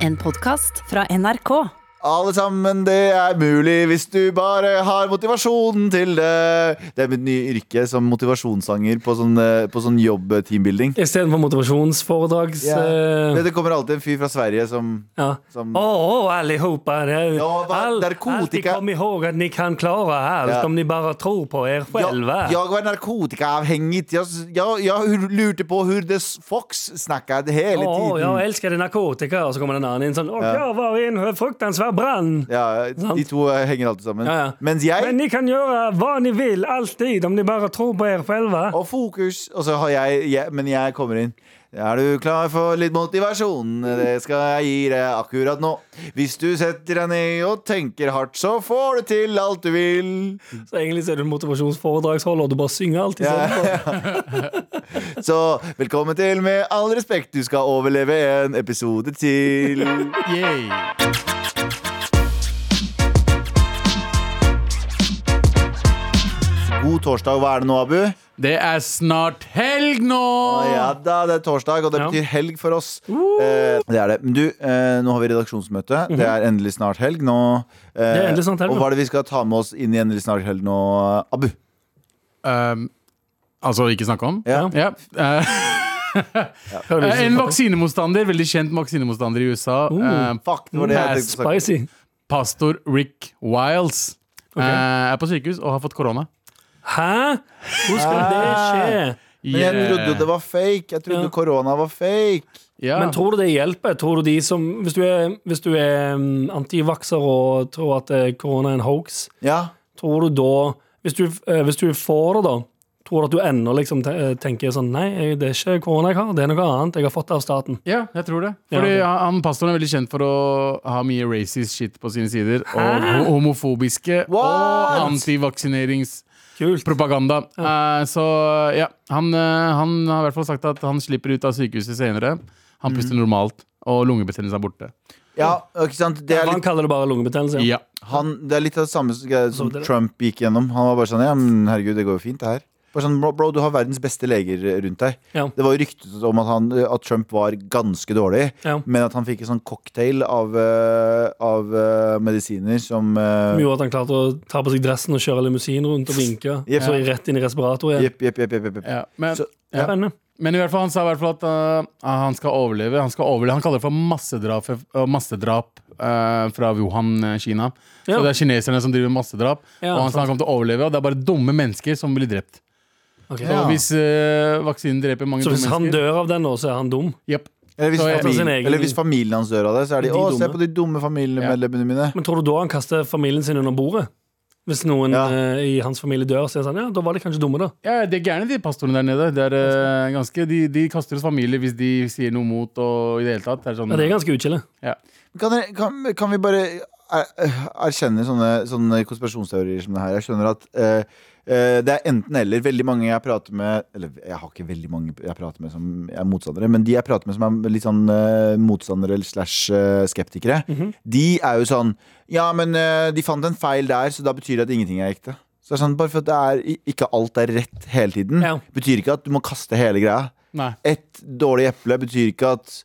En podkast fra NRK. Alle sammen, det er mulig hvis du bare har motivasjonen til det. Det er mitt nye yrke som motivasjonssanger på sånn, eh, på sånn jobb-teambuilding. Istedenfor motivasjonsforedrags... Ja. eh, Det, det kommer alltid en fyr fra Sverige som ja. som- Åh, åh, allihopa! det- Ja, va- all- narkotika- Alltid kom ihåg at ni kan klare her, Ja. om ni bare tror på er Ja, själva. Jeg var narkotikaavhengig. Jeg, s- jeg, jeg hu- lurte på hvordan Fox snakket hele Åh, tiden. jeg elsker narkotika, og så kommer den andre inn sånn Åh, jeg var i en fruktansvær brann! Ja, de Sant. to eh, henger alltid sammen. Ja, ja. Mens jeg Men ni kan gjøre hva ni vil, alltid, om ni bare tror på er själva. og fokus. Og så har jeg, jeg Men jeg kommer inn. Er du klar for litt motivasjon? Det skal jeg gi deg akkurat nå. Hvis du setter deg ned og tenker hardt, så får du til alt du vil. Så egentlig så er du en motivasjonsforedragsholder, og du bare synger alltid Ja, sånn. Så velkommen til Med all respekt, du skal overleve en episode til. God torsdag. Hva er det nå, Abu? Det er snart helg nå! Ja da, det er torsdag, og det Ja. Uh. betyr helg for oss. Eh, det er det. Men du, eh, nå har vi redaksjonsmøte. Det er endelig snart helg nå. Eh, Mhm. er endelig snart helg og nå. hva er det vi skal ta med oss inn i endelig snart helg nå, Abu? Um, altså, ikke snakke om? Ja. Ja. Eh, Hører du ikke en sånn? vaksinemotstander, veldig kjent vaksinemotstander i USA, Oh. eh, Fuck, det var det jeg tenkte å snakke om. Spicy. pastor Rick Wiles, eh, er på sykehus og har fått korona. Hæ? Ah. Hvor skal det skje? Men jeg Yeah. trodde jo det var fake. Jeg trodde Ja. korona var fake. ja. Men tror du det hjelper? Tror du de som, hvis du er, hvis du er mm, antivakser og tror at eh, korona er en hoax, Ja. tror du da Hvis du, eh, hvis du får det, da, tror du at du ennå liksom te- eh, tenker sånn Nei, jeg- det er ikke korona jeg har, det er noe annet. Jeg har fått det av staten. ja, jeg tror det. Ja, Fordi ok. han- han Pastoren er veldig kjent for å ha mye racist shit på sine sider. Og ho- homofobiske What? og antivaksinerings... Kult. propaganda. Eh, så ja, han, eh, han har i hvert fall sagt at han slipper ut av sykehuset senere. Mhm. Han puster normalt, og lungebetennelsen er borte. ja, ikke sant? Det er Han litt, kaller det bare lungebetennelse. Ja. han, det er litt av det samme som- som Så dere- Trump gikk gjennom. Han var bare sånn Ja, men herregud, det går jo fint, det her. Bare sånn, bro, bro, du har verdens beste leger rundt deg. Ja. Det var jo ryktet om at, han, at Trump var ganske dårlig. Ja. Men at han fikk en sånn cocktail av, eh, av eh, medisiner som eh, Som gjorde at han klarte å ta på seg dressen og kjøre limousin rundt og vinke. Jepp. Så rett inn i respirator igjen. Jepp, jepp, jepp. jepp, jepp. Ja, men, Så- ja. Spennende. men i hvert fall, han sa i hvert fall at eh, han skal overleve. Han skal overleve Han kaller det for massedrap, eh, massedrap eh, fra Wuhan, eh, Kina. Ja. Så det er kineserne som driver med massedrap. Ja, og han sa han kommer til å overleve, og det er bare dumme mennesker som blir drept. Ok. Så hvis eh, vaksinen dreper mange Så dumme hvis han mennesker dør av den nå, så er han dum. Jep. Eller, hvis Så jeg- Sin familien, egen- eller hvis familien hans dør av det, så er de, De Å, se dumme. på de dumme familiemedlemmene mine. Men tror du da han kaster familien sin under bordet? Hvis noen Ja. eh, i hans familie dør, så er han sånn, ja, da var de kanskje dumme, da. Ja, De er gærne, de pastorene der nede. Det er, eh, ganske, de, de kaster oss familie hvis de sier noe mot. Og i Det hele tatt Det er sånn, Ja, det er ganske utskille. ja. Kan, dere- kan, kan vi bare er, erkjenne sånne, sånne konspirasjonsteorier som det her? Jeg skjønner at eh, eh, det er enten-eller. Veldig mange jeg prater med Eller jeg har ikke veldig mange jeg prater med som er motstandere, men de jeg prater med som er litt sånn eh, motstandere eller slash eh, skeptikere, de er jo sånn Ja, men eh, de fant en feil der, så da betyr det at ingenting er ekte. Så det er sånn, Bare for at det er, i- ikke alt er rett hele tiden, Ja. betyr ikke at du må kaste hele greia. Nei. Ett dårlig eple betyr ikke at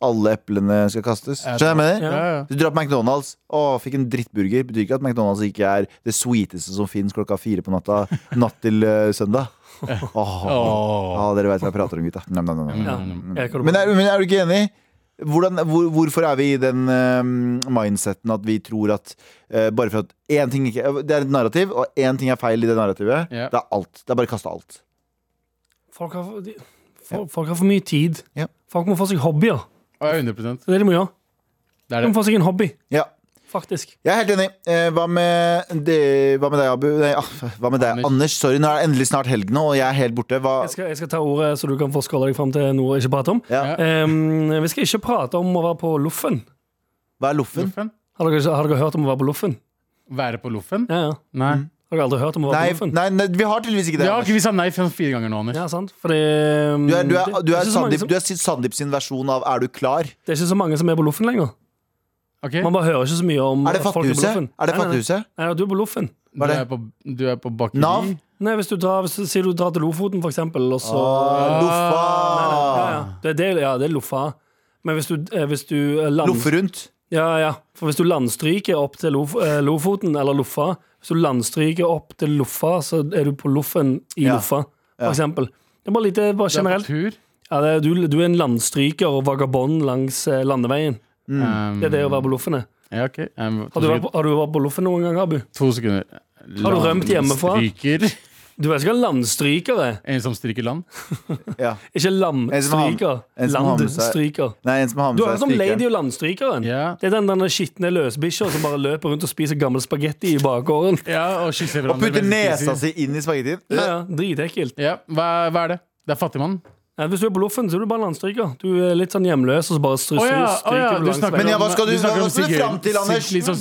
alle eplene skal kastes. Skjønner du hva jeg mener? Ja, ja. Hvis du drar på McDonald's og fikk en drittburger, betyr ikke at McDonald's ikke er det sweeteste som finnes klokka fire på natta natt til eh, søndag. Åh. Åh. Ja, dere veit hva jeg prater om, gutta. Nam, nam, nam, nam. Ja. Jeg kan Men, er, men er du ikke enig? Hvordan, hvor, hvorfor er vi i den eh, mindseten at vi tror at eh, bare for at én ting ikke Det er et narrativ, og én ting er feil i det narrativet. Ja. Det er alt. Det er bare å kaste alt. folk, har, for- de, for, folk har for mye tid. Ja. Folk må få seg hobbyer. Å, ja, 100 Det er det de må gjøre. Det er De det. må få seg en hobby, Ja. faktisk. Jeg er helt enig. Eh, hva, med de, hva med deg, Abu? Nei, ah, hva med deg, Anders? Anders. Sorry, nå er det endelig snart helg nå, og jeg er helt borte. Hva, Jeg skal, jeg skal ta ordet, så du kan få skåla deg fram til noe å ikke prate om. ja. Ja. Em, vi skal ikke prate om å være på loffen. hva er loffen? Loffen? Har dere, har dere hørt om å være på loffen? Være på loffen? Ja, ja. Nei. Har dere aldri hørt om å være Nei, på loffen? nei, nei, vi har tydeligvis ikke Mm. det. Ja, ok, Anders. vi sa nei for fire ganger nå, Anders. Ja, sant? Fordi, um, Du er, du er, det- du det er, ikke så mange Sandeep, som- du er Sandeep sin versjon av 'er du klar'? Det er ikke så mange som er på loffen lenger. Ok, Man bare hører ikke så mye om Er det at folk på Fattighuset? Er loffen. det Nei, nei, nei. fattighuset? Nei, nei, du er på loffen. Du Hva er er det? på, du er på bakeri. Nav? Nei, hvis du drar, hvis du sier du drar til Lofoten, for eksempel, og så Åh, Nei, Loffa! ja, ja. Det, er det, ja, det er Loffa. Men hvis du, eh, hvis du eh, land- Loffe rundt. Ja, ja. For hvis du landstryker opp til Lof eh, Lofoten, eller Loffa Hvis du landstryker opp til Loffa, så er du på Loffen i Ja. Loffa, for Ja. eksempel. Det er bare lite bare Du er på generelt. tur. Ja, det er, du, du er en landstryker og vagabond langs eh, landeveien. Mm. Det er det å være på Loffen er. Ehm, Ja, ok. Um, Har to, du, vært sekunder. på, har du vært på Loffen noen gang, Abu? to sekunder. Har du rømt hjemmefra? Landstryker. Du vet ikke hva landstryker er? En som stryker land? Ja. Ikke lamstryker. en som har med seg- Landstryker. Nei, en som har Du med har seg hørt om strykeren. Lady og landstrykeren? Ja. Det er den derne skitne løsbikkja som bare løper rundt og spiser gammel spagetti i bakgården. Ja, og kysser Og hverandre. putter mens de nesa spiser. si inn i spagettien. Ja, ja, Dritekkelt. Ja, hva, hva er det? Det er fattigmannen? Nei, Hvis du er på loffen, så er du bare landstryker. Du er litt sånn hjemløs, og så bare stryker Å ja, å ja, du du langs snakker Men veien. ja, hva om- skal du- snakker hva om skal du sigøy- fram til, Anders? sig- Litt sånn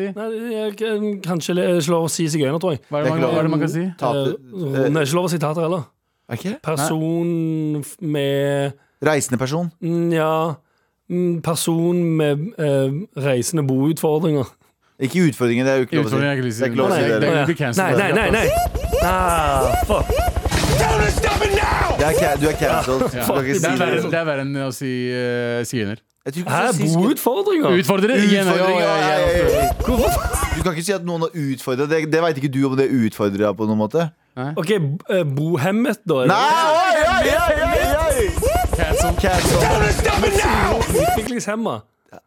sigøyneraktig? Nei, jeg, jeg- Kanskje det er ikke lov å si sigøyner, tror jeg. Hva er Det er det ikke man- lov. Mm, hva er det man kan si? Ta- Eh, Eh, Det er ikke lov å si tater heller. Er ikke det? Person f- med Reisende person. Nja Person med eh, reisende boutfordringer. Ikke utfordringer, det er jo ikke lov å si. Utfordring er ikke Det er ikke lov å Nei, si det. det- det- Å, ja. blir cancelled. Nei, nei, nei! nei. Ah, fuck. det er ca- du er cancelled. Du kan ikke Det si er verre, sånn. det. det er verre enn å si uh, sigøyner. Jeg tror ikke Hæ, du skal si- boutfordringer? Utfordrer? Igjen, ja, Utfordringer, ja, ja, ja, ja. ja, ja. Hvorfor? Du kan ikke si at noen har utfordra. Det, det veit ikke du om det er utfordra på noen måte. OK, b- eh, bohemmet, da? Nei! Oi, oi, oi, oi, oi. Cancel. Cancel. Utviklingshemma.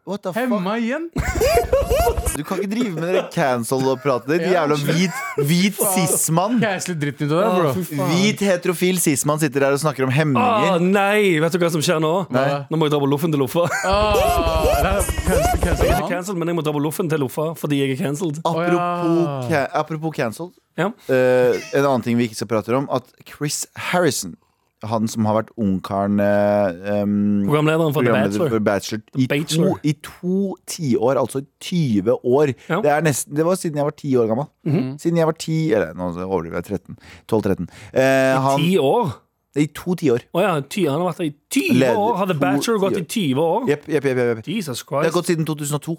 What the fuck? Hemma igjen? Du kan ikke drive med det cancel-pratet ditt. Jævla hvit, hvit sismann. Cancel dritten ut av deg, bro. Hvit heterofil sismann sitter der og snakker om Å Ah. hemninger. Ah, nei! Vet du hva som skjer nå? Nei. Nå må jeg dra på loffen til Loffa. Åh, Ah, det er cancel, cancel. Jeg er cancelled, men jeg må dra på loffen til Loffa fordi jeg er cancelled. Ah. Apropos, Å, ja. ca apropos cancelled. Ja. Eh, en annen ting vi ikke skal prate om, at Chris Harrison, han som har vært ungkaren eh, em, Programlederen for The programleder Bachelor. for Bachelor i Bachelor. to, i to tiår, altså i 20 år. Ja. Mhm. Det, er nesten, det var siden jeg var 10 år gammel. Siden jeg var 10 Eller nå overdriver jeg. 13. 12-13. Eh, han, Ti år? I to tiår. Å ja, ty, han har vært der i 20 Leder år! Har The to Bachelor gått i 20 år? Jepp, jepp, jepp, jepp. Jesus Det har Christ. gått siden 2002.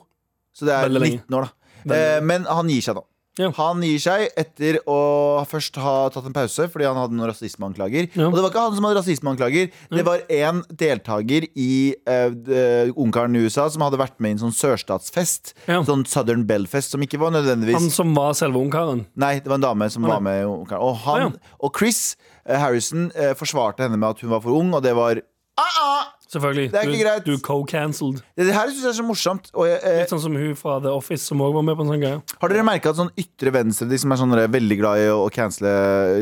Så det er Veldig lenge. 19 år, da. Veldig Eh, men han gir seg nå. Ja. Han gir seg etter å først ha tatt en pause fordi han hadde noen rasismeanklager. Ja. Og det var ikke han som hadde rasismeanklager. Det var en deltaker i eh, d- Ungkaren i USA som hadde vært med i en sånn sørstatsfest. Ja. Sånn Southern Bell-fest, som ikke var nødvendigvis Han som var selve ungkaren. Nei, det var en dame som Å, nei. var med. i Ungkaren. Og, han, Å, og Chris eh, Harrison eh, forsvarte henne med at hun var for ung, og det var ah, ah! Selvfølgelig. Det er ikke Du- greit. Du co-cancelled. Det, det her syns jeg er så morsomt. Og jeg, eh, Litt sånn som hun fra The Office som òg var med på en sånn greie. Har dere merka at sånn ytre venstre, de som er sånn der veldig glad i å cancele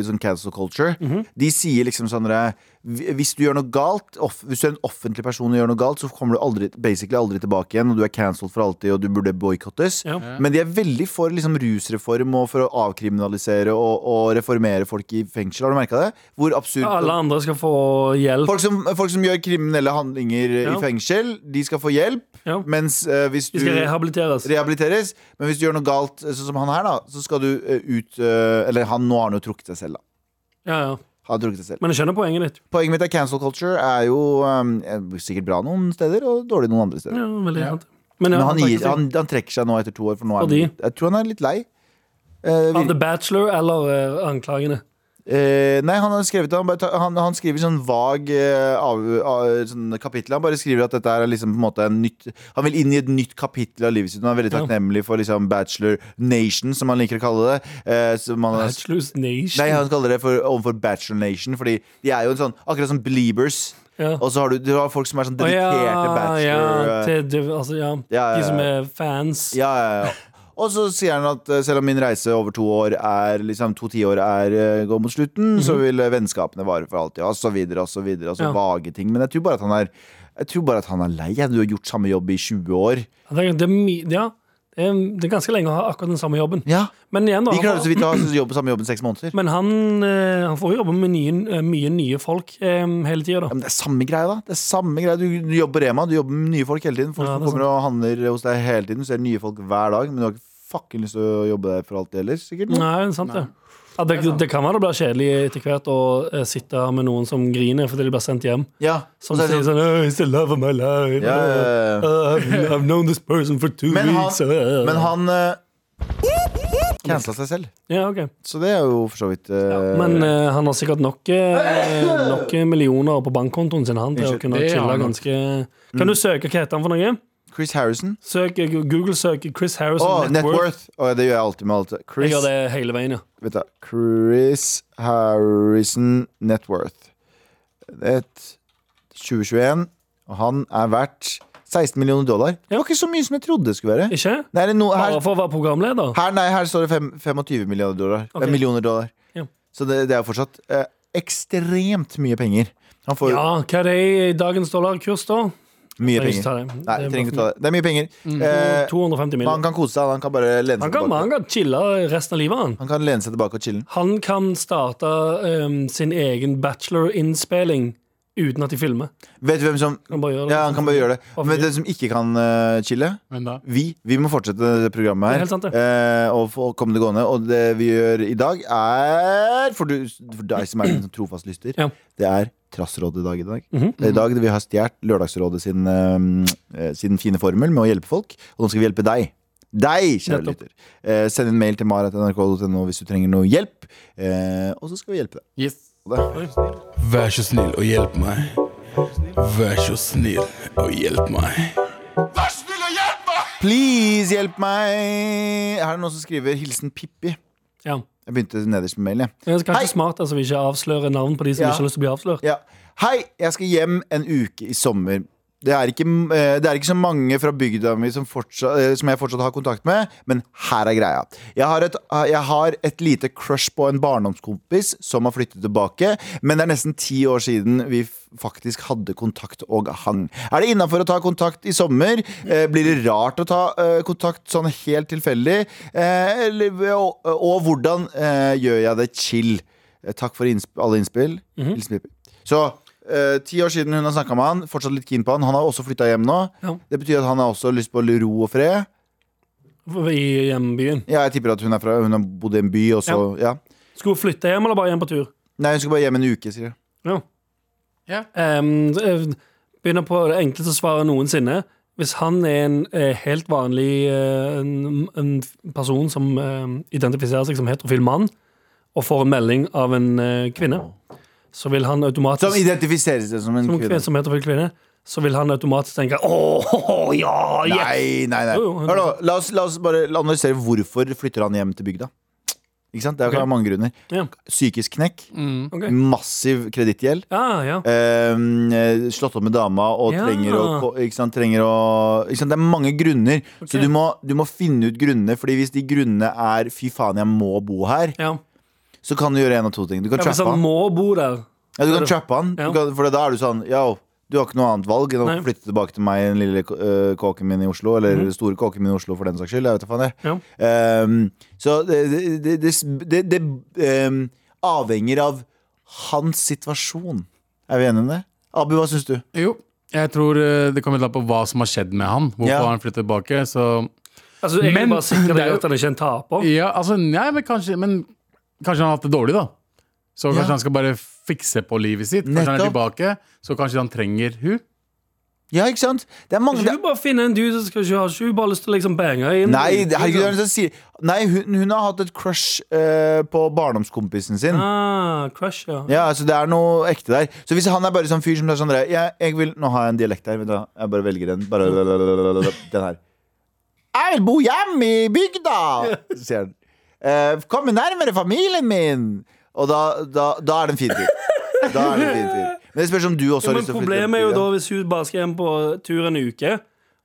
sånn cancel culture, Mhm. de sier liksom sånn der, Hvis du gjør noe galt, off, hvis du er en offentlig person og gjør noe galt, så kommer du aldri, basically aldri tilbake igjen, og du er cancelled for alltid, og du burde boikottes. Ja. Men de er veldig for liksom, rusreform og for å avkriminalisere og, og reformere folk i fengsel. Har du merka det? Hvor absurd Alle andre skal få hjelp. Folk som, folk som gjør kriminelle handlinger Ja. i fengsel, de skal få hjelp. Ja. Mens eh, hvis du De skal rehabiliteres. rehabiliteres. Men hvis du gjør noe galt, sånn som han her, da, så skal du eh, ut eh, Eller han, nå har han jo trukket seg selv, da. Ja, ja. Han har trukket seg selv. Men jeg skjønner poenget ditt. Poenget mitt er cancel culture er jo eh, sikkert bra noen steder, og dårlig noen andre steder. Ja, veldig sant. Men, ja, Men han, takk gir, for- han, han trekker seg nå etter to år, for nå er han Fordi? litt, Jeg tror han er litt lei. Eh, Av The vi, Bachelor eller eh, anklagene? eh, nei, han har skrevet det. Han, bare ta- han, han skriver sånn vag eh, av, av, sånn kapittel. Han bare skriver at dette er liksom på en måte en nytt Han vil inn i et nytt kapittel av livet sitt. Han er veldig Ja. takknemlig for liksom Bachelor Nation, som han liker å kalle det. Eh, som han har Bachelor's Nation. Nei, han kaller det for, overfor Bachelor Nation, fordi de er jo en sånn, akkurat som Beliebers. ja. Og så har du, du har folk som er sånn Å, dedikerte bachelor... Ja, eh, til, til, altså, ja. Ja, ja, De som ja. er fans. ja, ja, ja. Og så sier han at eh, selv om min reise over to år er liksom to tiår er eh, går mot slutten, så vil eh, vennskapene vare for alltid, og så videre og så videre. Og så Mhm. Ja. vage ting. Men jeg tror bare at han er Jeg tror bare at han er lei. Du har gjort samme jobb i 20 år. Det, er, det, er my, ja. det, er, det er ganske lenge å ha akkurat den samme jobben. Ja, Men igjen, da. Vi klarer han- så vidt å ha jobb, samme jobben seks måneder. men han, eh, han får jo jobbe med nye, eh, mye nye folk eh, hele tida, Ja, da. men det er samme greia, da. Det er samme greia. Du, du jobber på Rema, du jobber med nye folk hele tiden. Folk Ja, som det er kommer og handler hos deg hele tiden. Du ser nye folk hver dag, men du har ikke fucking lyst til å jobbe der for alt det ellers, sikkert. Nei, det er sant det. Ja, det, det kan være det blir kjedelig etter hvert å eh, sitte her med noen som griner fordi de blir sendt hjem. Ja. Som Og så er det sier sånn- sånn oh, It's the love of my life. Ja, ja, ja. Uh, I've, I've known this person for two Men han- weeks. uh." Men han eh, Cancela seg selv. Ja, ok. Så det er jo for så vidt eh, Men eh, han har sikkert nok, eh, nok millioner på bankkontoen sin han, til å Unnskyld, kunne det har chille han nok. ganske Kan du søke hva heter han for noe? Chris Harrison. Søk, eh, Google søk Chris Å, Harrison net worth! Å, det gjør jeg alltid med alt. Jeg Chris, gjør det hele veien, ja. vet du, Chris Harrison net worth. Et 2021. Og han er verdt 16 millioner dollar. Det var ikke så mye som jeg trodde det skulle være. Ikke? Nei, det er noe, her, Bare for å være programleder? Her, nei, her står det fem, 25 millioner dollar. Ok. Eh, Millioner dollar. Ja. Så det, det er fortsatt eh, ekstremt mye penger. Han får Ja, hva er det i dagens dollarkurs, da? mye Jeg vil ikke penger. ta Nei, det. Det trenger er bare ikke ta det. Det er mye penger. for- Eh, 250 men han millioner. kan kose seg. Han kan bare lene seg Han kan, tilbake. han kan chille resten av livet, han. Han kan lene seg tilbake og chille. Han kan starte ehm, sin egen bachelor-innspilling uten at de filmer. Vet du hvem som Han bare gjør det. Ja, han kan bare gjøre det. Hvorfor Men ikke? det som ikke kan eh, chille Men da? vi, vi må fortsette det programmet her Det er helt sant, det. eh, og få komme det gående. Og det vi gjør i dag, er For, du, for deg som er en trofast lyster, Ja. det er Trassrådet i dag. I dag, Mhm. Det er i dag vi har stjålet Lørdagsrådet sin, eh, eh, sin fine formel med å hjelpe folk. Og nå skal vi hjelpe deg. Deg, kjære Nettopp. lytter. Eh, send en mail til marat.nrk.no hvis du trenger noe hjelp. Eh, og så skal vi hjelpe deg. Yes. Og det- Vær så snill og hjelp meg. Vær så snill og hjelp meg. Please, hjelp meg! Her er det noen som skriver 'Hilsen Pippi'. Ja. Jeg begynte nederst med mailen. jeg. Men Det er Hei! kanskje smart altså, vi ikke avslører navn på de som Ja. ikke har lyst til å bli avslørt. Ja. Hei, jeg skal hjem en uke i sommer. Det er ikke, eh, det er ikke så mange fra bygda mi som, fortsatt, eh, som jeg fortsatt har kontakt med, men her er greia. Jeg har, et, eh, jeg har et lite crush på en barndomskompis som har flyttet tilbake, men det er nesten ti år siden vi f- faktisk hadde kontakt og hang. Er det innafor å ta kontakt i sommer? Eh, Blir det rart å ta eh, kontakt sånn helt tilfeldig? Eh, eller- Og, og hvordan eh, gjør jeg det chill? Eh, Takk for innsp alle innspill. Hilsen Pippi. Så eh, ti år siden hun har snakka med han, fortsatt litt keen på han. Han har også flytta hjem nå. Ja. Det betyr at han har også lyst på ro og fred. I hjembyen. Ja, jeg tipper at hun er fra Hun har bodd i en by, og så ja. Skulle hun flytte hjem, eller bare hjem på tur? Nei, hun skal bare hjem en uke, sier jeg. Ja. Ja. Ehm, så, eh, begynner på det enkleste svaret noensinne. Hvis han er en eh, helt vanlig eh, en, en person som eh, identifiserer seg som heterofil mann, og får en melding av en eh, kvinne, så vil han automatisk Som identifiserer seg som en som, kvinne. kvinne, som heterofil kvinne, så vil han automatisk tenke åh, ja, Ah, yes! Nei, nei, nei. Jo, jo, hun- Hør nå, la oss, la oss bare analysere hvorfor flytter han hjem til bygda. Ikke sant? Det kan være Ok. mange grunner. Ja. Psykisk knekk. Mm. Ok. Massiv kredittgjeld. Ja, ja. Ehm, eh, slått opp med dama og Ja. trenger å, ko- ikke sant, trenger å ikke sant, Det er mange grunner, så du må, du må finne ut grunnene. Fordi hvis de grunnene er 'fy faen, jeg må bo her', ja. så kan du gjøre en av to ting. Du kan ja hvis trappe han han. må bo der Ja, du kan trappe han Ja. du kan, For da er du sånn Yo, du har ikke noe annet valg enn å Nei. Mhm. flytte tilbake til meg, den lille eh, kåken min i Oslo. Eller store kåken min i Oslo, for den saks skyld. Jeg vet da faen, jeg. Ja. Ehm, så det, det, det, det, det ehm, avhenger av hans situasjon. Er vi enige om det? Abu, hva syns du? Jo, jeg tror eh, det kommer litt an på hva som har skjedd med han. Hvorfor Ja. han flyttet tilbake. Så Altså, jeg Men- vil bare sikre det deg er jo- at han ikke er en taper. ja, altså, nei, men kanskje, men kanskje han har hatt det dårlig, da. Så kanskje Ja. han skal bare fikse på livet sitt. Kanskje han er tilbake, så kanskje han trenger hun. Ja, ikke sant? Det er mange Kan det, ikke du bare finne en dude som skal ikke ha ikke du bare lyst til å liksom bange inn? Nei, det- herregud, det er noen som sier Nei, hun, hun har hatt et crush eh, på barndomskompisen sin. Ah, crush, ja. Ja, altså Det er noe ekte der. Så hvis han er bare sånn fyr som er sånn der, jeg, jeg vil, Nå har jeg en dialekt her. Vent da, jeg bare velger den. Bare, den her. Jeg vil bo hjemme i bygda, sier han. Eh, komme nærmere familien min! Og da, da, da er det en fin fyr. Da er det en fin fyr. Men det spørs om du også har Men lyst til å flytte problemet er jo til da bygda. hvis hun bare skal hjem på tur en uke.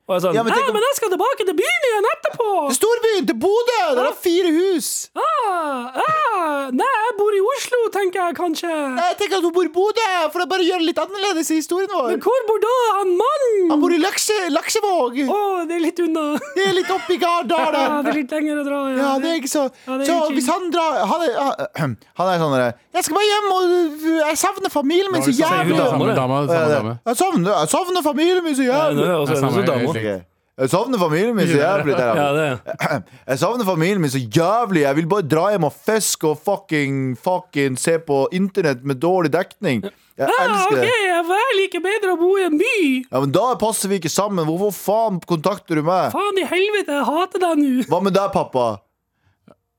Og er sånn, Ja, men men, tenk om- men jeg skal tilbake til byen igjen etterpå! Storbyen til Bodø! Der er fire hus! Ah, ah, nei, jeg bor i Oslo, tenker jeg kanskje. Nei, Jeg tenker at hun bor i Bodø, for å bare gjøre det litt annerledes i historien Men vår. hvor bor da han Han mannen? bor i Lakse, Laksevåg. Å, det er litt unna. Det er litt oppi Ja, Gardalen. det er litt lenger å dra. Ja, det er ikke så Ja, det er Så ikke- hvis han drar Han er, han han er sånn der, Jeg skal bare hjem og øh, Jeg savner familien min så hun jævlig da? Ja, Samme det. dame, det samme er dame. det. Jeg savner, jeg savner familien min så Ja, det jævlig høres ut som samme, damer. jeg- Ok. Jeg savner familien min så jævlig det er Ja, det. det er. Jeg savner familien min så jævlig Jeg vil bare dra hjem og fiske og fucking Fucking se på internett med dårlig dekning Jeg Ah, elsker ok, det jeg liker bedre å bo i en by. Ja, men da passer vi ikke sammen Hvorfor faen kontakter du meg? Faen i helvete, jeg hater deg nå. Hva med deg, pappa?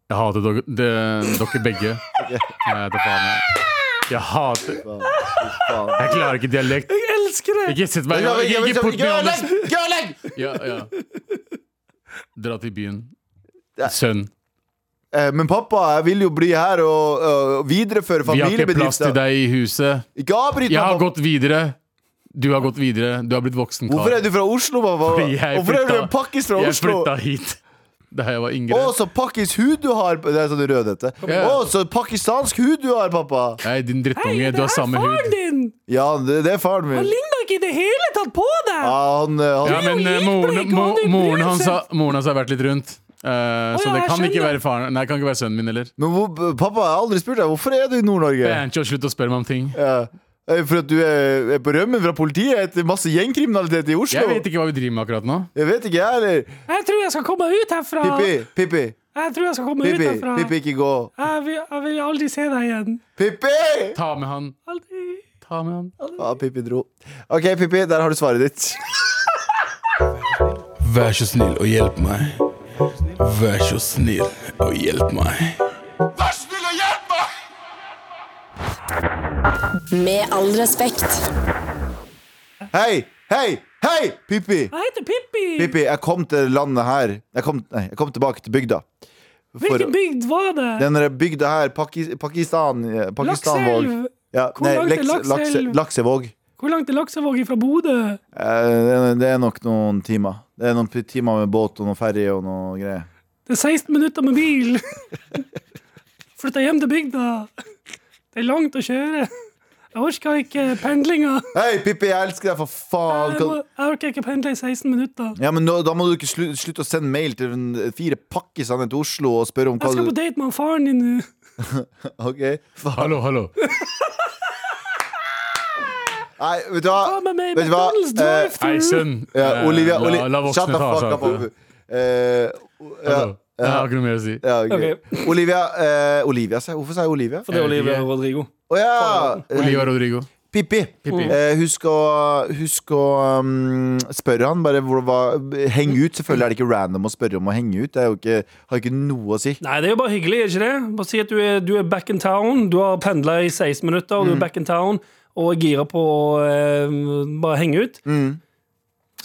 Jeg hater dere, de- dere begge. Jeg vet da faen. Jeg, jeg hater Faen, fy faen. Jeg klarer ikke dialekt. Jeg elsker det! Ikke sett meg Ikke, ikke port meg Gørlegg! under- Gørlegg! ja, ja. Dra til byen. Ja. Sønn, Eh, Men pappa, jeg vil jo bli her og øh, videreføre vi har ikke plass til familiebedriften. deg i huset. Ikke avbryt Jeg meg, har pappa. gått videre. Du har gått videre. Du har blitt voksen Hvorfor er kar. du fra Oslo, pappa? Fordi jeg Hvorfor er du flytta- en pakkis fra Jeg Oslo? flytta hit da jeg var Å, yngre. så pakkis hud du har Det er sånn rødhette. Å, igjen. så pakistansk hud du har, pappa. Nei, din drittunge. Du har samme hud. din! Ja, det, det er faren min. ligner ikke i det hele tatt på deg! Ja, han, øh, han Ja, jo men eh, gift, men moren, ikke mo, hadde i moren, brevsett. hans har, moren hans har vært litt rundt. Eh, så ja, det jeg kan ikke skjønner. være faren Nei, det kan ikke være sønnen min heller. Men hvor, pappa, jeg har aldri spurt deg. Hvorfor er du i Nord-Norge? Bancho, slutt å spørre meg om ting. Ja. Eh, For at du er, er på rømmen fra politiet etter masse gjengkriminalitet i Oslo? Jeg vet ikke hva vi driver med akkurat nå. Jeg vet ikke, jeg heller. Jeg tror jeg skal komme ut herfra. Pippi, Pippi, Jeg tror jeg skal komme ut Pippi, herfra. Pippi, ikke gå. Jeg, vil, jeg vil aldri se deg igjen. Pippi! Ta med han. Aldri. Ta med han. Ja, Pippi dro. OK, Pippi, der har du svaret ditt. Vær så snill og hjelp meg. Vær så snill og hjelp meg. Med all respekt. Hei, hei, hei, Pippi! Jeg heter Pippi. Pippi, jeg kom til landet her. Jeg kom, nei, jeg kom tilbake til bygda. For Hvilken bygd var det? denne bygda her, Paki, Pakistan eh, Pakistanvåg. Lakselv. Ja, Hvor nei, langt er Leks- Lakse, Lakselv? Laksevåg. Hvor langt er Laksevåg fra Bodø? Eh, Det er- det er nok noen timer. Det er noen p- timer med båt og noen ferje og noe greier. Det er 16 minutter med bil. Flytta hjem til bygda. Det er langt å kjøre. Jeg orker ikke pendlinga. Hei, Pippi, jeg elsker deg, for faen! Jeg, Kan- må- jeg orker ikke pendle i 16 minutter. Ja, men nå, Da må du ikke slutte, slutte å sende mail til en- fire pakkisene til Oslo og spørre om hva Jeg skal du på date med han faren din nå. Ok, faen. Hallo, hallo. Nei, vet du hva? Ta med meg i Vet du hva? McDonald's Eh, Hei, drive-thru. sønn. Ja, Eh, Olivia, la- Oli- La Shut voksne the ta fuck seg up, av det. Abu. Eh, ja, Hallo. Jeg har ikke noe mer å si. ja, ok. Olivia, eh, Olivia sa jeg. Hvorfor sa jeg Olivia? Å For det er Olivia Rodrigo. ja! eh, Olivia Rodrigo. Pippi. Mm. Pippi. Eh, husk å, husk å um, spørre han. Bare hvor, hva, heng ut. Selvfølgelig er det ikke random å spørre om å henge ut. Det er jo ikke, har ikke noe å si. Nei, det er jo bare hyggelig, er ikke det? Bare si at du er, du er back in town. Du har pendla i 16 minutter, og du Mm. er back in town og er gira på å eh, bare henge ut.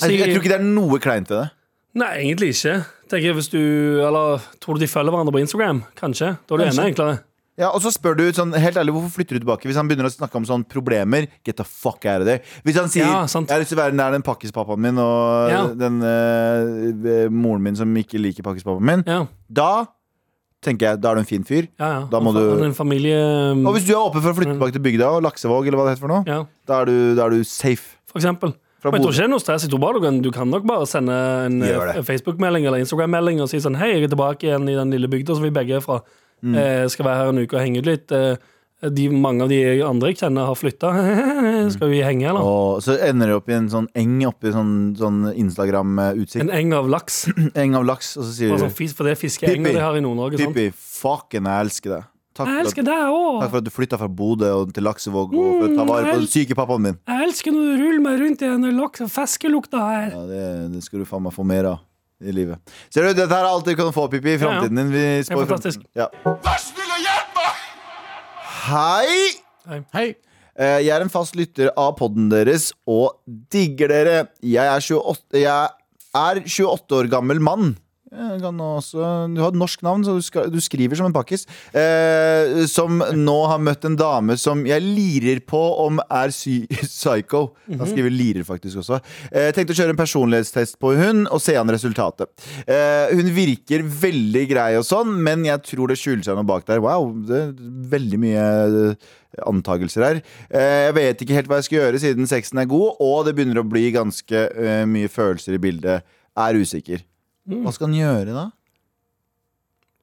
Jeg, jeg Mm. tror ikke det er noe kleint ved det. Nei, egentlig ikke. Tenker jeg hvis du, eller Tror du de følger hverandre på Instagram? Kanskje. Da er det enda enklere. Ja, og så spør du sånn, helt ærlig, hvorfor flytter du tilbake? Hvis han begynner å snakke om sånne problemer, get the fuck out of there. Hvis han sier, Ja, sant. jeg har lyst til å være nær den pakkispappaen min og Ja. den eh, moren min som ikke liker pakkispappaen min, Ja, da tenker jeg, da er du en fin fyr. ja, ja. Da må Han- du- han er En familie Og hvis du er åpen for å flytte tilbake til bygda og Laksevåg, eller hva det heter for noe, Ja, da, er du, da er du safe. for eksempel. Fra Men jeg tror Bodø. ikke det er noe stress. Jeg tror bare du kan, du kan nok bare sende en Gjør det. eh, Facebook-melding eller Instagram-melding og si sånn Hei, jeg er tilbake igjen i den lille bygda som vi begge er fra. Mm. Eh, skal være her en uke og henge ut litt. Eh, de, mange av de andre jeg kjenner, har flytta. skal vi henge, eller? Og så ender du opp i en sånn eng oppe i sånn, sånn Instagram-utsikt. En eng av laks. Eng av laks, og så sier Bare du, sånn fis- for det er fiskeenger Pippi. de har i Nord-Norge. sant? Pippi, fucken, jeg elsker deg. Takk Jeg for at elsker deg Takk òg. for at du flytta fra Bodø og til Laksevåg og for å ta vare Mm, på den syke pappaen min. Jeg elsker når du ruller meg rundt i den laks- og feskelukta her. Ja, det, det skal du faen meg få mer av i livet. Ser du, Dette her er alt du kan få, Pippi, i Ja, ja. framtiden din. Vi spår Det er fantastisk. fremtiden. Ja. Hei! Hei. Eh, Jeg er en fast lytter av podden deres og digger dere. Jeg er 28, jeg er 28 år gammel mann. Jeg Kan også, du har et norsk navn, så du, skal, du skriver som en pakkis. Eh, som nå har møtt en dame som jeg lirer på om er sy psycho. Han skriver 'lirer' faktisk også. Eh, tenkte å kjøre en personlighetstest på hun og se an resultatet. Eh, hun virker veldig grei og sånn, men jeg tror det skjuler seg noe bak der. Wow, det er veldig mye eh, antagelser her. Eh, jeg vet ikke helt hva jeg skal gjøre siden sexen er god, og det begynner å bli ganske eh, mye følelser i bildet. Er usikker. Hva skal han gjøre da?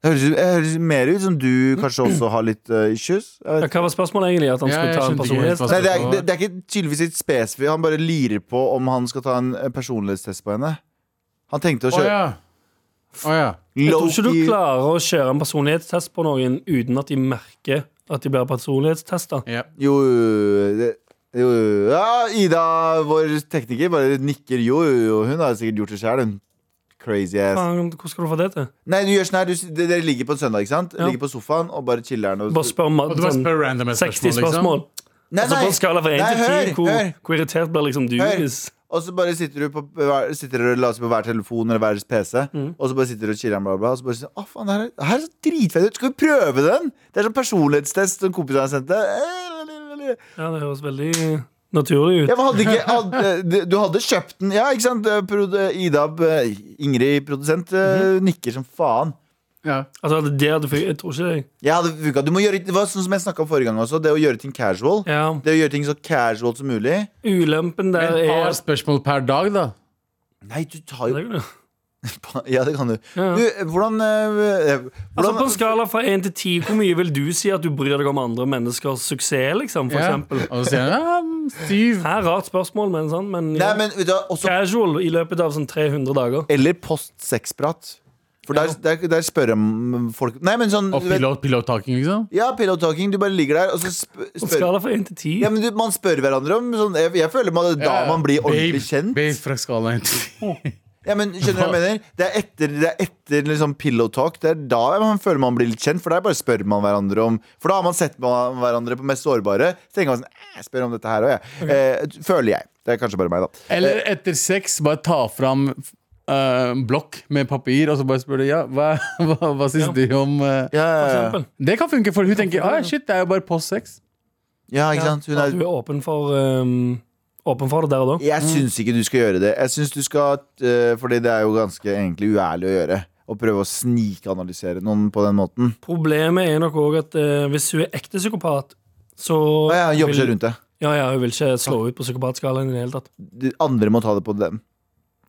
Det høres, det høres mer ut som du kanskje også har litt eh, issues. Jeg Ja, vet. hva var spørsmålet egentlig? At han Ja, skulle jeg ta en skjønte ikke helt hva personlighet? Nei, det, er, det, det er ikke tydeligvis litt spesifikt. Han bare lirer på om han skal ta en eh, personlighetstest på henne. Han tenkte å Å kjøre ja. Å ja. Jeg tror ikke du low-key- klarer å kjøre en personlighetstest på noen uten at de merker at de blir personlighetstesta. Ja. Jo, det, jo ja, Ida, vår tekniker, bare nikker jo, jo. Hun har sikkert gjort det sjøl, hun. Crazy ass. Faen, Hvordan skal du få det til? Nei, du gjør sånn her, du, s- dere ligger på en søndag, ikke sant? Ja. Ligger på sofaen og bare chiller'n. Og, Bare spør om Og du bare sånn spør random liksom. 60 spørsmål. nei, Altså på en skala fra 1 Nei, til 10, hør, hvor, hør. hvor irritert blir liksom du Hør. hvis Og så bare sitter du på, hver- sitter dere og lader seg på hver telefon eller hver PC, Mm. og så bare sitter du og chiller'n, bla, bla, bla, og så bare sånn Å, faen, det her, er- det her er så dritfett ut! Skal vi prøve den? Det er sånn personlighetstest som kompisene har sendt deg. Ja, det høres veldig naturlig ut. Jeg hadde ikke, hadde, eh, du hadde kjøpt den, ja, ikke sant? Prod- Ida, eh, Ingrid, produsent, eh, Mhm. nikker som faen. Ja. Altså, det hadde fun- Jeg tror ikke det. Jeg hadde funka. Du må gjøre, det var sånn som jeg snakka om forrige gang også, det å gjøre ting casual. Ja. Det å gjøre ting så casual som mulig. Ulempen der Et er par spørsmål per dag, da. Nei, du tar Det jo er jo det. Ja, det kan du. Ja. Du, eh, hvordan, eh, eh, Altså På en hvordan skala fra 1 til 10, hvor mye vil du si at du bryr deg om andre menneskers suksess? liksom, for Ja. eksempel? Og så sier han ja, syv. Det er rart spørsmål, men sånn. Men, ja. Nei, men vet du, hva, også casual i løpet av sånn 300 dager. Eller post sexprat. For der, der, der spør jeg om folk Nei, men sånn Og du vet- pillow- pillow-talking, liksom. Ja, pillow talking. Du bare ligger der, og så sp På en spør skala fra 1 til 10 Ja, men du, Man spør hverandre om sånn, jeg, jeg føler man, da man blir ordentlig kjent. Babe fra skala 1 Ja, men skjønner du hva jeg mener? Det er etter, det er etter liksom pillow talk. Det er da man føler man blir litt kjent, for der bare spør man hverandre om For da har man sett man, hverandre på mest sårbare. Så tenker man sånn "Eh, Jeg spør om dette her òg, jeg. Eh, føler jeg. Det er kanskje bare meg, da. Eller etter sex, bare ta fram eh, blokk med papir, og så bare spør du ja, hva, hva, hva syns Ja. du om eh, Ja, ja, ja. eksempel. Det kan funke, for hun tenker ah, shit, det er jo bare post sex. ja ikke sant? Hun At du er, er åpen for, um, åpen for det der og da. jeg syns ikke du skal gjøre det. Jeg synes du skal eh, Fordi det er jo ganske egentlig uærlig å gjøre. Å prøve å snikanalysere noen på den måten. Problemet er nok òg at eh, hvis hun er ekte psykopat, så Å ja, jobber seg vil, rundt det. ja, ja, hun vil ikke slå ut på psykopatskalaen i det hele tatt. De andre må ta det på dem.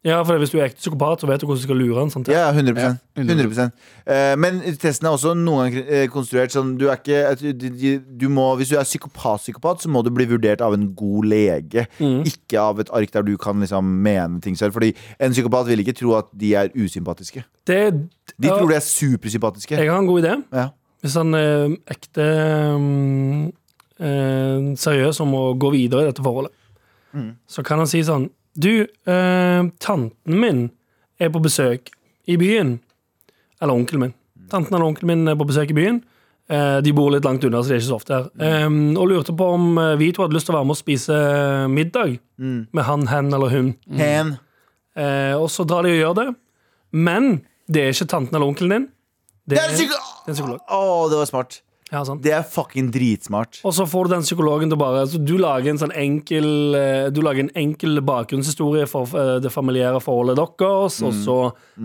Ja, for hvis du er ekte psykopat, så vet du hvordan du skal lure han. Sant? Ja, 100, Ja, 100%. 100%. Eh, Men testen er også noen ganger eh, konstruert sånn du er ikke, at du- du, du må, Hvis du er psykopat-psykopat, så må du bli vurdert av en god lege. Mm. Ikke av et ark der du kan liksom mene ting selv. Fordi en psykopat vil ikke tro at de er usympatiske. Det, De ja, tror de er supersympatiske. Jeg har en god idé. Ja. Hvis han er ekte um, eh, seriøs om å gå videre i dette forholdet, Mm. så kan han si sånn Du, eh, tanten min er på besøk i byen. Eller onkelen min. Mm. Tanten eller onkelen min er på besøk i byen. Eh, de bor litt langt unna, så de er ikke så ofte her. Mm. Eh, og lurte på om eh, vi to hadde lyst til å være med og spise eh, middag Mm. med han, hen eller hun. Mm. Hen. Eh, og så drar de og gjør det. Men det er ikke tanten eller onkelen din. Det er en det er en psykolog! psykolog. Å, det var smart. Ja, sant. Det er fucking dritsmart. Og så får du den psykologen til å bare så Du lager en sånn enkel eh, Du lager en enkel bakgrunnshistorie for eh, det familiære forholdet deres, og så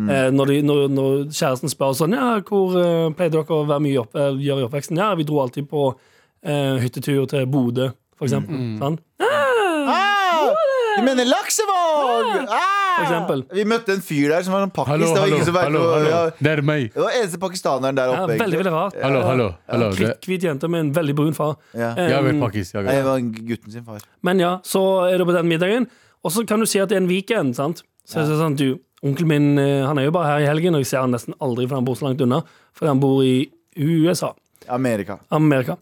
eh, når, de, når, når kjæresten spør sånn Ja, hvor eh, pleide dere å være mye opp, eh, gjøre i oppveksten? Ja, vi dro alltid på eh, hyttetur til Bodø, for eksempel. Sånn. Ah, du mener Laksevåg! For Ah! eksempel. Vi møtte en fyr der som var en pakkis. det Hallo, var hallo, ingen som var- hallo, hallo. Ja, Det er meg. Det var eneste pakistaneren der Ja, oppe. veldig, egentlig. veldig rart. Hallo, hallo. hallo. Det, Kritthvit jente med en veldig brun far. Ja. Eh, jeg har vært pakkis. jeg har Nei, det vært- var gutten sin far. Men ja, så er du på den middagen, og så kan du si at det er en weekend, sant? Så er det sånn, du, onkelen min eh, han er jo bare her i helgen, og jeg ser han nesten aldri, for han bor så langt unna, fordi han bor i USA, Amerika. Amerika.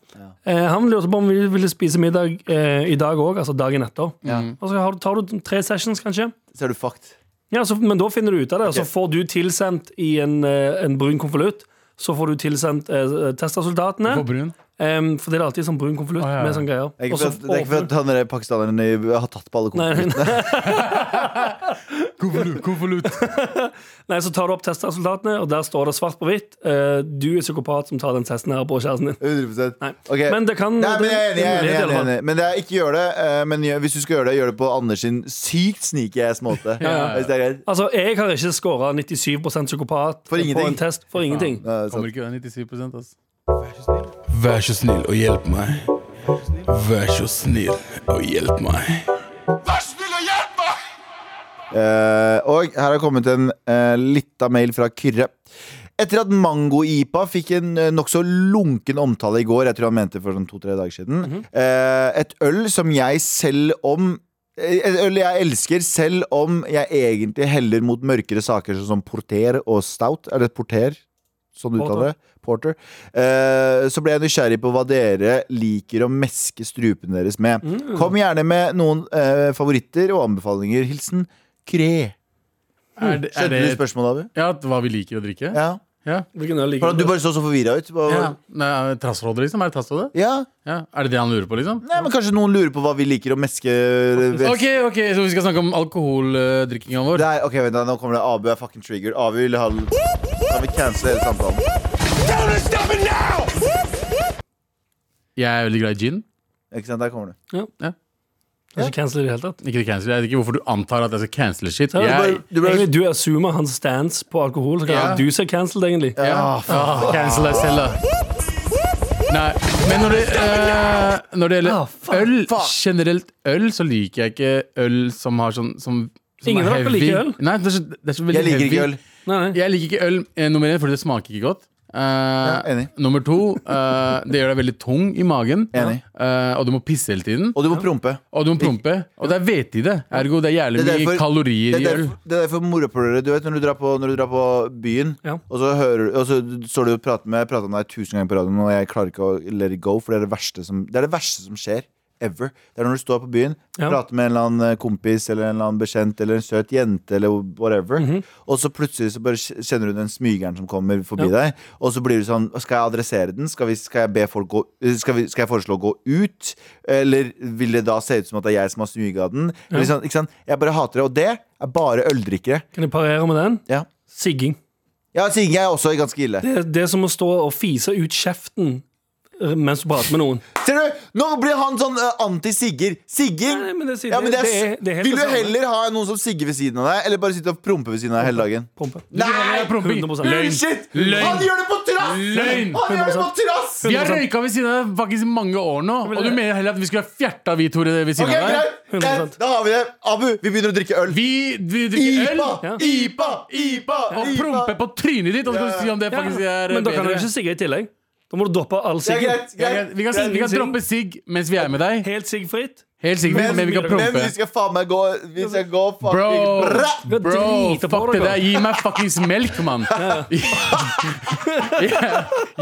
Eh, han lurte på om vi ville spise middag eh, i dag òg, altså dagen etter. Mm. Og så har du- tar du tre sessions, kanskje. Så er du fucked. Ja, så, Men da finner du ut av det, og så Ok. får du tilsendt i en, eh, en brun konvolutt. Så får du tilsendt eh, testresultatene. På brun. em, for det er alltid sånn brun konvolutt Å, ja, ja. med sånne greier. Det er Og ikke for så at, det er ikke for åpner- at han der pakistaneren i- har tatt på alle Nei, konvoluttene. nei, Konvolutt. konvolutt. Nei, så tar du opp testresultatene, og der står det svart på hvitt. eh, du er psykopat som tar den testen her på kjæresten din. 100% Nei. Ok. Men det kan Nei, men jeg er enig, det- jeg det er er enig, mulighet i jeg er alle fall. enig. Men det er, ikke gjør det. eh, Men gjør- hvis du skal gjøre det, gjør det på Anders sin sykt sneaky ass måte. ja. Hvis det er greit. Altså, jeg har ikke scora 97 psykopat For på ingenting. en test for ingenting. Ja, det er Kommer sant. ikke være 97 altså. Vær så snill og hjelp meg. Vær så snill og hjelp meg. Eh, og her har kommet en uh, lita mail fra Kyrre. Etter at Mango-IPA fikk en eh, nokså lunken omtale i går, jeg tror han mente for sånn to-tre dager siden, eh, et øl som jeg selv om eh, et øl jeg elsker, selv om jeg egentlig heller mot mørkere saker sånn som porter og stout. Er det porter? Sånn du uttaler det? Porter. Eh, så ble jeg nysgjerrig på hva dere liker å meske strupen deres med. Kom gjerne med noen eh, favoritter og anbefalinger. Hilsen Kre. Er det, Skjønte er det du spørsmålet, Abu? ja, hva vi liker å drikke? Ja. Ja. Hvilken øl For liker at du bare så så forvirra ut. Hva, ja. Nei, Trassrådet, liksom? Er det trassrådet? ja. Ja. Er det det han lurer på, liksom? Nei, men Kanskje noen lurer på hva vi liker å meske eh, Ok, ok, Så vi skal snakke om alkoholdrikkinga vår? Nei, ok, vent da, Nå kommer det Abu er fucking triggered. Abu vil ha Kan vi cancele hele samtalen? Jeg er veldig glad i gin. Ikke sant, Der kommer det. Kanskje cancel i det hele tatt. Ikke det cancel, Jeg vet ikke hvorfor du antar at jeg skal cancele shit. Ja, Jeg, det ja, bare- Du ble- Egentlig, du assumer hans stance på alkohol, så kanskje Ja. du ser cancelled, egentlig. Ja, ah, cancel deg selv, da. Nei, men når det, eh, når det Ah, gjelder fuck, øl, fuck. generelt øl, så liker jeg ikke øl som har sånn som, som Ingen er av dere heavy. liker øl? Nei, det er så, det er så veldig Jeg liker ikke heavy. øl. Nei, nei. Jeg liker ikke øl eh, nummer én, fordi det smaker ikke godt. Eh, enig. nummer to, eh, det gjør deg veldig tung i magen. Enig. Eh, og du må pisse hele tiden. Og du må prompe. Og du må prompe. Og det er hvete i det. Ergo det er jævlig Det er derfor- mye kalorier Det i er øl. derfor, det er derfor morapulere. Du vet når du drar på, når du drar på byen, Ja. og, så hører, og så står du og prater med prater om deg tusen ganger på radioen, og jeg klarer ikke å let it go, for det er det verste som, det er det verste som skjer. Ever. Det er når du står på byen, Ja. prater med en eller annen eh, kompis eller en eller annen bekjent eller en søt jente eller whatever, og så plutselig så bare kj- kjenner du den smygeren som kommer forbi deg, og så blir du sånn Skal jeg adressere den? Skal, vi, skal jeg be folk gå eh, skal, vi, skal jeg foreslå å gå ut? Eller vil det da se ut som at det er jeg som har smyga den? Eller sånn, ikke sant? Jeg bare hater det. Og det er bare øldrikkere. Kan jeg parere med den? Ja. Sigging. Ja, Signe er også ganske ille. Det, det er som å stå og fise ut kjeften eh, mens du prater med noen. Ser du, Nå blir han sånn eh, anti-Sigger. Sigging! Nei, men det sier- Ja, men det er, det er- det er helt vil det du samme. heller ha noen som sigger ved siden av deg, eller bare sitte og prompe ved siden av deg hele dagen? Prompe. Nei! Promping. 100%. Løgn. Shit! Løgn. Han gjør det på trass! Løgn! Han gjør det på trass! Vi Liksom. har røyka ved siden av deg faktisk i mange år nå, og du mener heller at vi skulle ha fjerta vi, Tore, ved Ok, siden av deg? greit. 100%. Da har vi det. Abu, vi begynner å drikke øl. Vi, vi drikker øl IPA! Ja. IPA! IPA! og promper på trynet ditt, og så skal du si om det Ja, faktisk er men da kan du bedre. ikke sigge i tillegg. Da må du droppe all Det er siggen. greit. Ja, greit. greit. Vi kan, si- vi kan droppe sigg mens vi er med deg. Helt siggfritt. Helt sikkert, men, vi kan men prompe. vi skal faen meg gå Vi skal gå fucking Bro, bra. Vi bro, driter på fuck det dere. der. Gi meg fuckings melk, mann. Ja.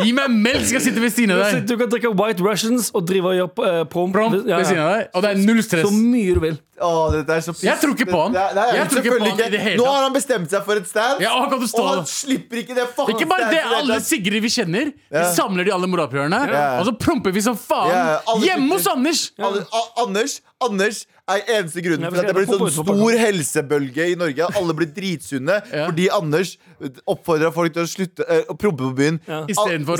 Gi meg melk, skal jeg sitte ved siden av Så deg. Du kan drikke White Russians og drive og gjøre eh, promp. Promp Ja, ja. ved siden av deg, og det er null Så stress. mye du vil. Å, dette er så Jeg tror ikke på han. Nei, nei, Jeg tror ikke på selvfølgelig han i det hele Nå tatt. har han bestemt seg for et stand, Ja, han kan du stå og han det. slipper ikke det faen Ikke bare standet det, i hele alle tatt. Sigrid vi kjenner, vi Ja. samler de alle morapulerne, Ja. og så promper vi som faen Ja, alle hjemme hos sitter- Anders! Alle- A- Anders Anders er eneste grunnen Nei, vi for at det skal blir ta sånn fotball etterpå, stor helsebølge i Norge. Alle blir dritsunne Ja. fordi Anders oppfordra folk til å slutte eh, å prompe på byen. Ja. Istedenfor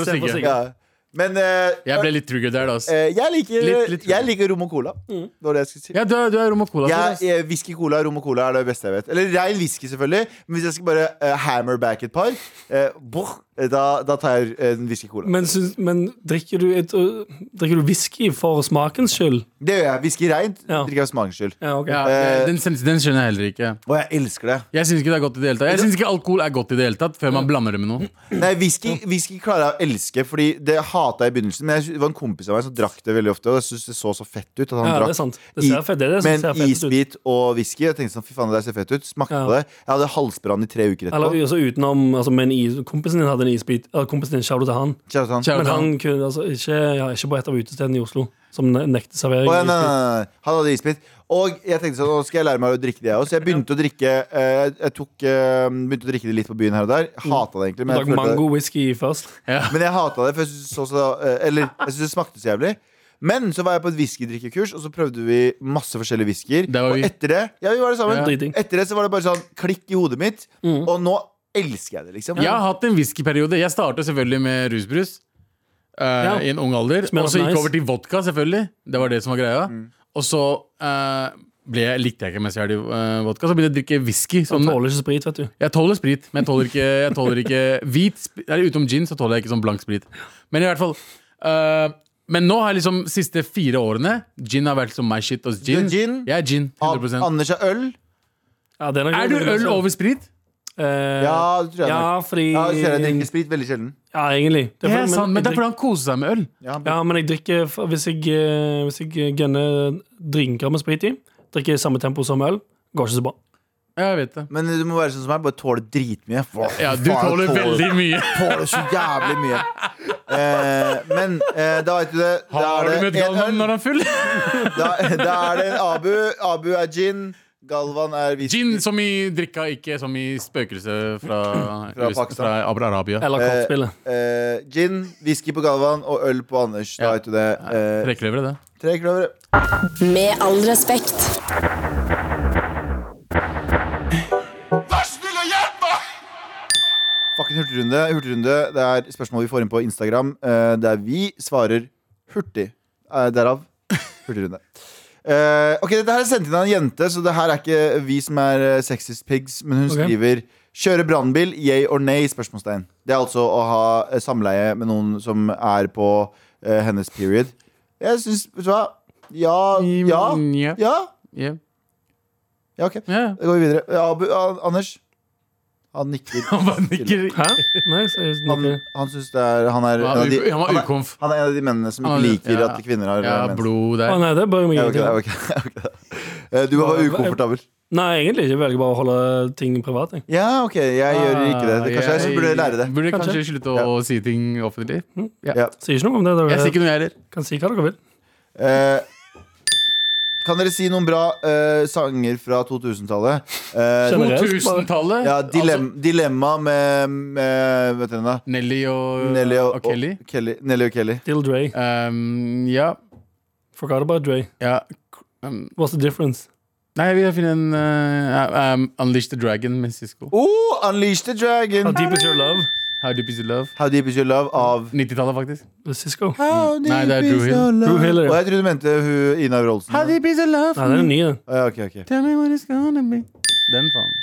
Istedenfor å å sigge. sigge. Ja. Men eh, Jeg ble litt trigger der, da. ass. eh, jeg, liker, Litt- litt- jeg liker rom og cola. Det var det jeg skulle si. Ja, du er, du er rom og cola. ass. Jeg, eh, whisky, cola, rom og cola er det beste jeg vet. Eller rein whisky, selvfølgelig. Men hvis jeg skal bare eh, hammer back et par, eh, boh, eh, da, da tar jeg en whisky cola. Men, syns- men drikker du et, øh, Drikker du whisky for smakens skyld? Det gjør jeg. Whisky reint Ja. drikker jeg av smakens skyld. Ja, ok. Ja, Eh, den, sen- den skjønner jeg heller ikke. Og jeg elsker det. Jeg syns ikke det er godt i det hele tatt. Jeg synes ikke alkohol er godt i det hele tatt før man blander det med noe. Nei, whisky, whisky klarer jeg å elske, Fordi det hata jeg i begynnelsen. Men jeg, sy- det var en kompis av meg som drakk det veldig ofte, og jeg syntes det så så fett ut. At han Ja, det er drakk sant. Det ser i- fett, det er det som med ser en fett ut. isbit og whisky. Jeg tenkte sånn, fy faen, det der ser fett ut. Smakte Ja. på det. Jeg hadde halsbrann i tre uker Eller etterpå. også utenom altså, men is, Kompisen din hadde en isbit. Eller kompisen din, shout-out til han. Kjære sånn. Shout-out. Men han kunne altså ikke, ja, ikke på et av utestedene i Oslo som ne- nekter servering. Å, ja, nei, nei, isbit. nei, nei. Han hadde isbit. Og jeg tenkte sånn, nå skal jeg lære meg å drikke det, jeg òg. Så jeg begynte å drikke eh, Jeg tok, eh, begynte å drikke det litt på byen her og der. Hata det egentlig. Men jeg Drakk følte- mango-whisky først. Men jeg hata det, for jeg syntes det så så- eh, Eller jeg syntes det smakte så jævlig. Men så var jeg på et whiskydrikkekurs, og så prøvde vi masse forskjellige whiskyer. Der var Og vi. etter det Ja, vi var det sammen. Ja. Mm. Driting. Etter det så var det bare sånn klikk i hodet mitt, og nå elsker jeg det, liksom. Jeg har hatt en whiskyperiode. Jeg startet selvfølgelig med rusbrus eh, Ja. i en ung alder. Smells Og så gikk nice. jeg over til vodka, selvfølgelig. Det var det som var greia. Mm. Og så eh, ble jeg, likte jeg ikke mens jeg hadde eh, vodka. Så begynte jeg å drikke whisky. Han Sånn, tåler ikke sprit, vet du. Jeg tåler sprit, men jeg tåler ikke, jeg tåler ikke hvit sprit. Eller utenom gin, så tåler jeg ikke sånn blank sprit. Men i hvert fall øh, Men nå har jeg liksom siste fire årene Gin har vært som my shit hos gin. Du er gin? Jeg er gin. An- 100 Anders er øl. Ja, det nok- Er du øl altså. over sprit? Eh, Ja, det tror jeg ja, nok. fordi Ja, du ser jeg drikker sprit veldig sjelden. Ja, egentlig. Det er Ja, fordi- sant, men jeg det er fordi han koser seg med øl. Ja, han- Ja, men jeg drikker f- Hvis jeg, eh, hvis jeg gønner drinker med sprit i, drikker i samme tempo som øl, går ikke så bra. Ja, jeg vet det. Men du må være sånn som meg, bare tåle dritmye. Hva Ja, du faen, tåler veldig mye. Tåler så jævlig mye. Eh, men eh, da vet du det. Da Har du er møtt det en Galvan øl. når han er full? Da, da er det en Abu. Abu er gin. Galvan er whisky. Gin som i drikka, ikke som i spøkelse fra, Fra fra, Pakistan. fra Abra Arabia. Eller kortspillet. Eh, gin, whisky på Galvan og øl på Anders. Da Ja. vet du det. Eh, Trekløvere, det. tre kløvere. Med all respekt. Fucking hurtigrunde. hurtigrunde. Det er spørsmål vi får inn på Instagram, eh, der vi svarer hurtig. Eh, derav hurtigrunde. Eh, ok, Dette her er sendt inn av en jente, så det her er ikke vi som er eh, sexist pigs. Men hun Ok. skriver 'kjøre brannbil, yay or nay?' spørsmålstegn. Det er altså å ha eh, samleie med noen som er på eh, hennes period. Jeg syns Vet du hva? Ja, Mm. ja, Ja. ja. Ja. Ja, ok. Ja. Da går vi videre. Eh, Abu, An- Anders? Han nikker. Han bare nikker. Hæ? Nei, seriøst. Han, ikke. han synes det er Han er, Han en av de, var u- han var han er, ukomf. han er en av de mennene som Han ikke var- liker ja. at kvinner har Ja, mens. blod Å der. nei, det bør jeg meg Ja, ok, ingenting om. ok, ok, ok. Eh, Du var Hva- ukomfortabel. Nei, egentlig ikke. Jeg velger bare å holde ting privat. Jeg. Ja, ok, jeg gjør ikke det. det kanskje jeg burde lære det. Burde kanskje, Kanskje. slutte å si ting offentlig. Ja. Ja. Sier ikke noe om det. Dere Jeg sier ikke noe, jeg heller. kan si hva dere vil. Eh, kan dere si noen bra eh, sanger fra 2000-tallet? Eh, Generelt, bare. 2000-tallet. ja, dilem, Dilemma med, med Vet dere da? Altså, Nelly og, Nelly og, og Kelly. Og Kelly. Nelly og Kelly. Dill Dre. Um, ja. Forgot about Dre. ja. Um, What's the difference? nei, jeg vil finne en uh, um, Unleash the Dragon med Sisko. Oh, Unleash the How Dragon! deep is your love? How Deep Is Your Love. How Deep Is Your Love av 90-tallet, faktisk. Cisco. How Mm. Nei, det er deep Drew is Hill. your love? Drew Hill, ja. Og jeg trodde du mente hun, Ina Rolsen. How deep is your love? Nei, den er ny. den. Ah, ja, ok, ok. Tell me what it's gonna be. Den, faen.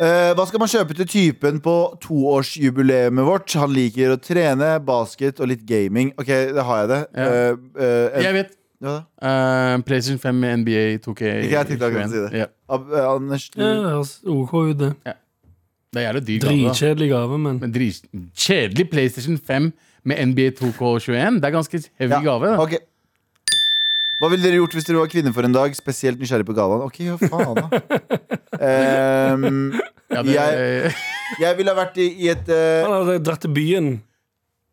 Eh, hva skal man kjøpe til typen på toårsjubileet vårt? Han liker å trene, basket og litt gaming. Ok, da har jeg det. Ja. Eh, eh, en- Jeg vet. ja, da. Uh, PlayStation 5 med NBA 2K. Ikke jeg tenkte akkurat å si det. Ja. Ab eh, Anders, du Ja, det høres OK ut, det. Det er jævlig altså. dyr gave. da. Dritkjedelig gave, men Men drit- Kjedelig PlayStation 5 med NBA 2K21. Det er ganske heavy Ja, gave. Da. ok. Hva ville dere gjort hvis dere var kvinner for en dag? Spesielt nysgjerrig på gallaen. Ok, ja, faen da. Ehm, Ja, det, jeg- jeg ville ha vært i, i et eh, Han hadde dratt til byen.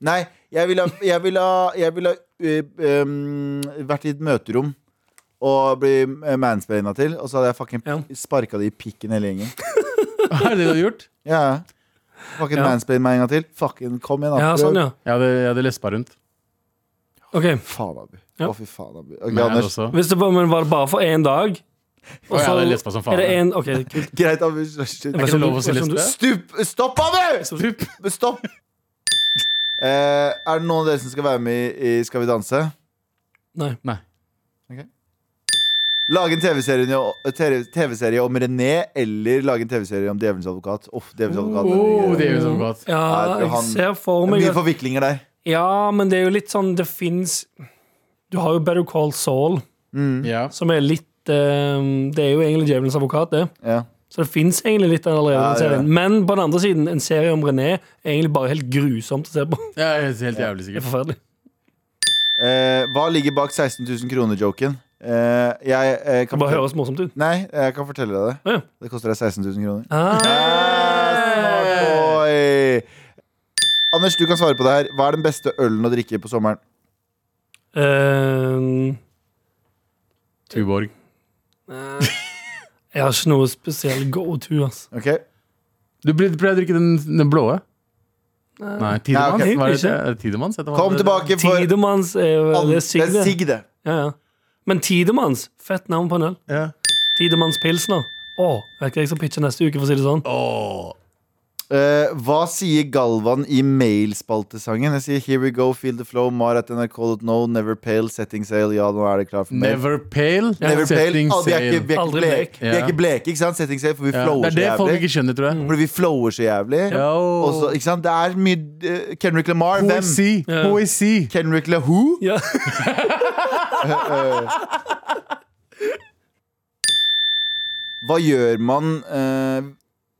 Nei, jeg ville ha, jeg ville ha, jeg ville ha eh, um, vært i et møterom og bli mansplaina til, og så hadde jeg fucking Ja. sparka det i pikken hele gjengen. er det du har gjort? Ja, ja. Fucking Ja. mansplain meg en gang til. Fucking kom igjen, da. Ja, sånn, ja. Jeg hadde, jeg hadde lespa rundt. Ok, Faen, Abu. Ja. altså. Å, fy faen, Abu. Ok, Men jeg hadde Anders. også. hvis det var, men var det bare for én dag? Og Å, ja, så- det er lesba som faen, Er det ja. en, ok, kult. Greit, Abu. Shit. ikke lov å si Som du- lesbe? Stup! Stopp, Abu! Stup. Stopp! Eh, er det noen av dere som skal være med i i Skal vi danse? Nei. Nei. Lage en TV-serie TV TV-serie om René, eller lage en TV-serie om Djevelens advokat. Uff, Djevelens advokat. Oh, det er jo så godt. Ja, Nei, det- jeg han- ser for Det er meg Mye at- forviklinger der. Ja, men det er jo litt sånn Det fins Du har jo Better Call Saul, Mm. Ja. som er litt eh, Det er jo egentlig Djevelens advokat, det. Ja. Så det fins egentlig litt der allerede. Ja, det den er serien. Men på den andre siden, en serie om René er egentlig bare helt grusomt å se på. ja helt helt jævlig Det er sikkert. forferdelig. Eh, hva ligger bak 16 000 kroner-joken? Eh, jeg, eh, Det kan bare fortelle- høres morsomt ut. Nei, jeg kan fortelle deg det. Ja. Det koster deg 16 000 kroner. Ah, Ah, smart boy! Anders, du kan svare på det her. Hva er den beste ølen å drikke på sommeren? eh, Tuborg. jeg har ikke noe spesiell go to, altså. Ok? Du ble- pleide å drikke den, den blå? Nei, Tidemanns? Ja, ok. Hva er det? Er det Tidemanns? heter det? Kom tilbake for Eh, Tidemanns er jo Det er Det er Sigde. Sigg, det. Ja, ja. Men Tidemanns, fett navn på en øl. Ja. Tidemanns pilsner. Å, vet ikke jeg skal pitche neste uke, for å si det sånn. Åh. Eh, hva sier Galvan i mailspaltesangen? Jeg sier Here we go, feel the flow, mar at nrk.no, never pale, setting sail. Ja, nå er det klar for mail. Never pale. Never pale. Setting Ah, vi, er ikke, vi, er ikke Aldri blek. blek. vi er Ja. ikke bleke, ikke sant? Setting sail, for vi Ja. flower Det er det så folk jævlig. ikke skjønner, tror jeg. Fordi vi flower så jævlig. Yo. Og så, ikke sant? Det er mye eh, Kendrick Lamar. Hvem? Poesi. Ja. Poesi. Kendrick LaHoo? Ja. Hva gjør man eh,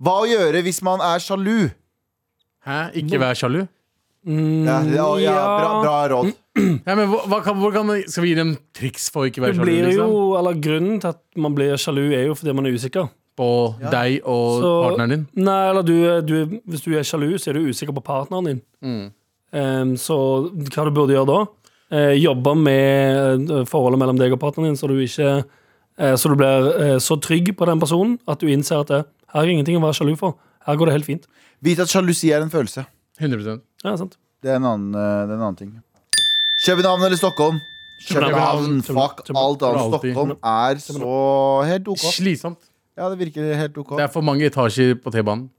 Hva å gjøre hvis man er sjalu? Hæ? Ikke vær sjalu? Mm, Ja, ja, ja bra, bra råd. Ja, men hva, hva kan, hvor kan, man- skal vi gi dem triks for å ikke være Det sjalu? blir Liksom? jo, eller Grunnen til at man blir sjalu, er jo fordi man er usikker. På deg og Så- partneren din? Nei, eller du, er- du, er- Hvis du er sjalu, så er du usikker på partneren din. Mm. Em, så hva du burde gjøre da? Eh, jobbe med eh, forholdet mellom deg og partneren din, så du ikke Eh, Så du blir eh, så trygg på den personen at du innser at eh, her er ingenting å være sjalu for. Her går det helt fint. Vite at sjalusi er en følelse. 100 Ja, sant. Det er en annen, eh, det er en annen ting. København eller Stockholm? København. København. Fuck København. alt annet. Alltid. Stockholm er så helt OK. Slitsomt. Ja, det virker helt OK. Det er for mange etasjer på T-banen.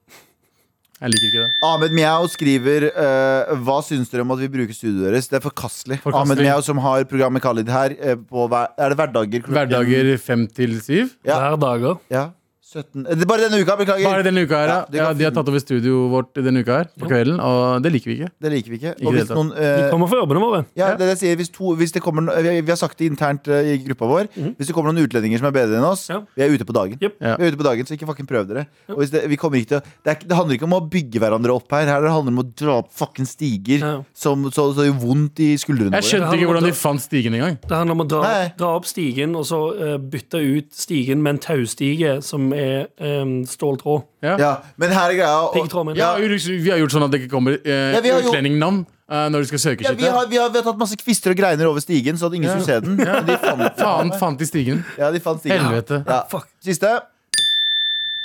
Jeg liker ikke det. Ahmed Mjau skriver eh, Hva syns dere om at vi bruker studioet deres? Det er forkastelig. Forkastelig. Ahmed Mjau som har programmet Khalid her eh, på hver, Er det hverdager? klokken- Hverdager fem til syv. Ja. Hver dager. Ja. 17. eh, Det er bare denne uka, beklager. Bare denne uka her, ja. Ja, det ja, kan de har finne- tatt over studioet vårt denne uka her på kvelden, og det liker vi ikke. Det liker vi ikke. Ikke Og det hvis hele noen Vi eh, kommer fra jobbene våre. ja, det er det jeg sier, hvis, to, hvis det kommer no- vi, vi har sagt det internt eh, i gruppa vår. Hvis det kommer noen utlendinger som er bedre enn oss, Ja. vi er ute på dagen. Jep. Ja. Vi er ute på dagen, så ikke fucking prøv dere. Og hvis det, vi kommer ikke til å, det, er, ikke- det handler ikke om å bygge hverandre opp her. Her handler det om å dra opp fucking stiger Ja. som så, så gjør vondt i skuldrene Jeg skjønte ikke hvordan de fant stigen engang. Det handler om å dra, Nei. dra opp stigen og så eh, bytte ut stigen med en taustige som er em, ståltråd. Ja. Ja, men her er greia og- Piggtråd, mener jeg. Ja, vi har gjort sånn at det ikke kommer eh, Ja, vi har jo- utlendingnavn eh, når du skal søke ja, skittet. vi, har, vi, har, vi har tatt masse kvister og greiner over stigen, så at ingen skulle se den. Men De fant, Faen, fant de stigen? ja, de fant stigen. Helvete. Ja. Fuck. Siste.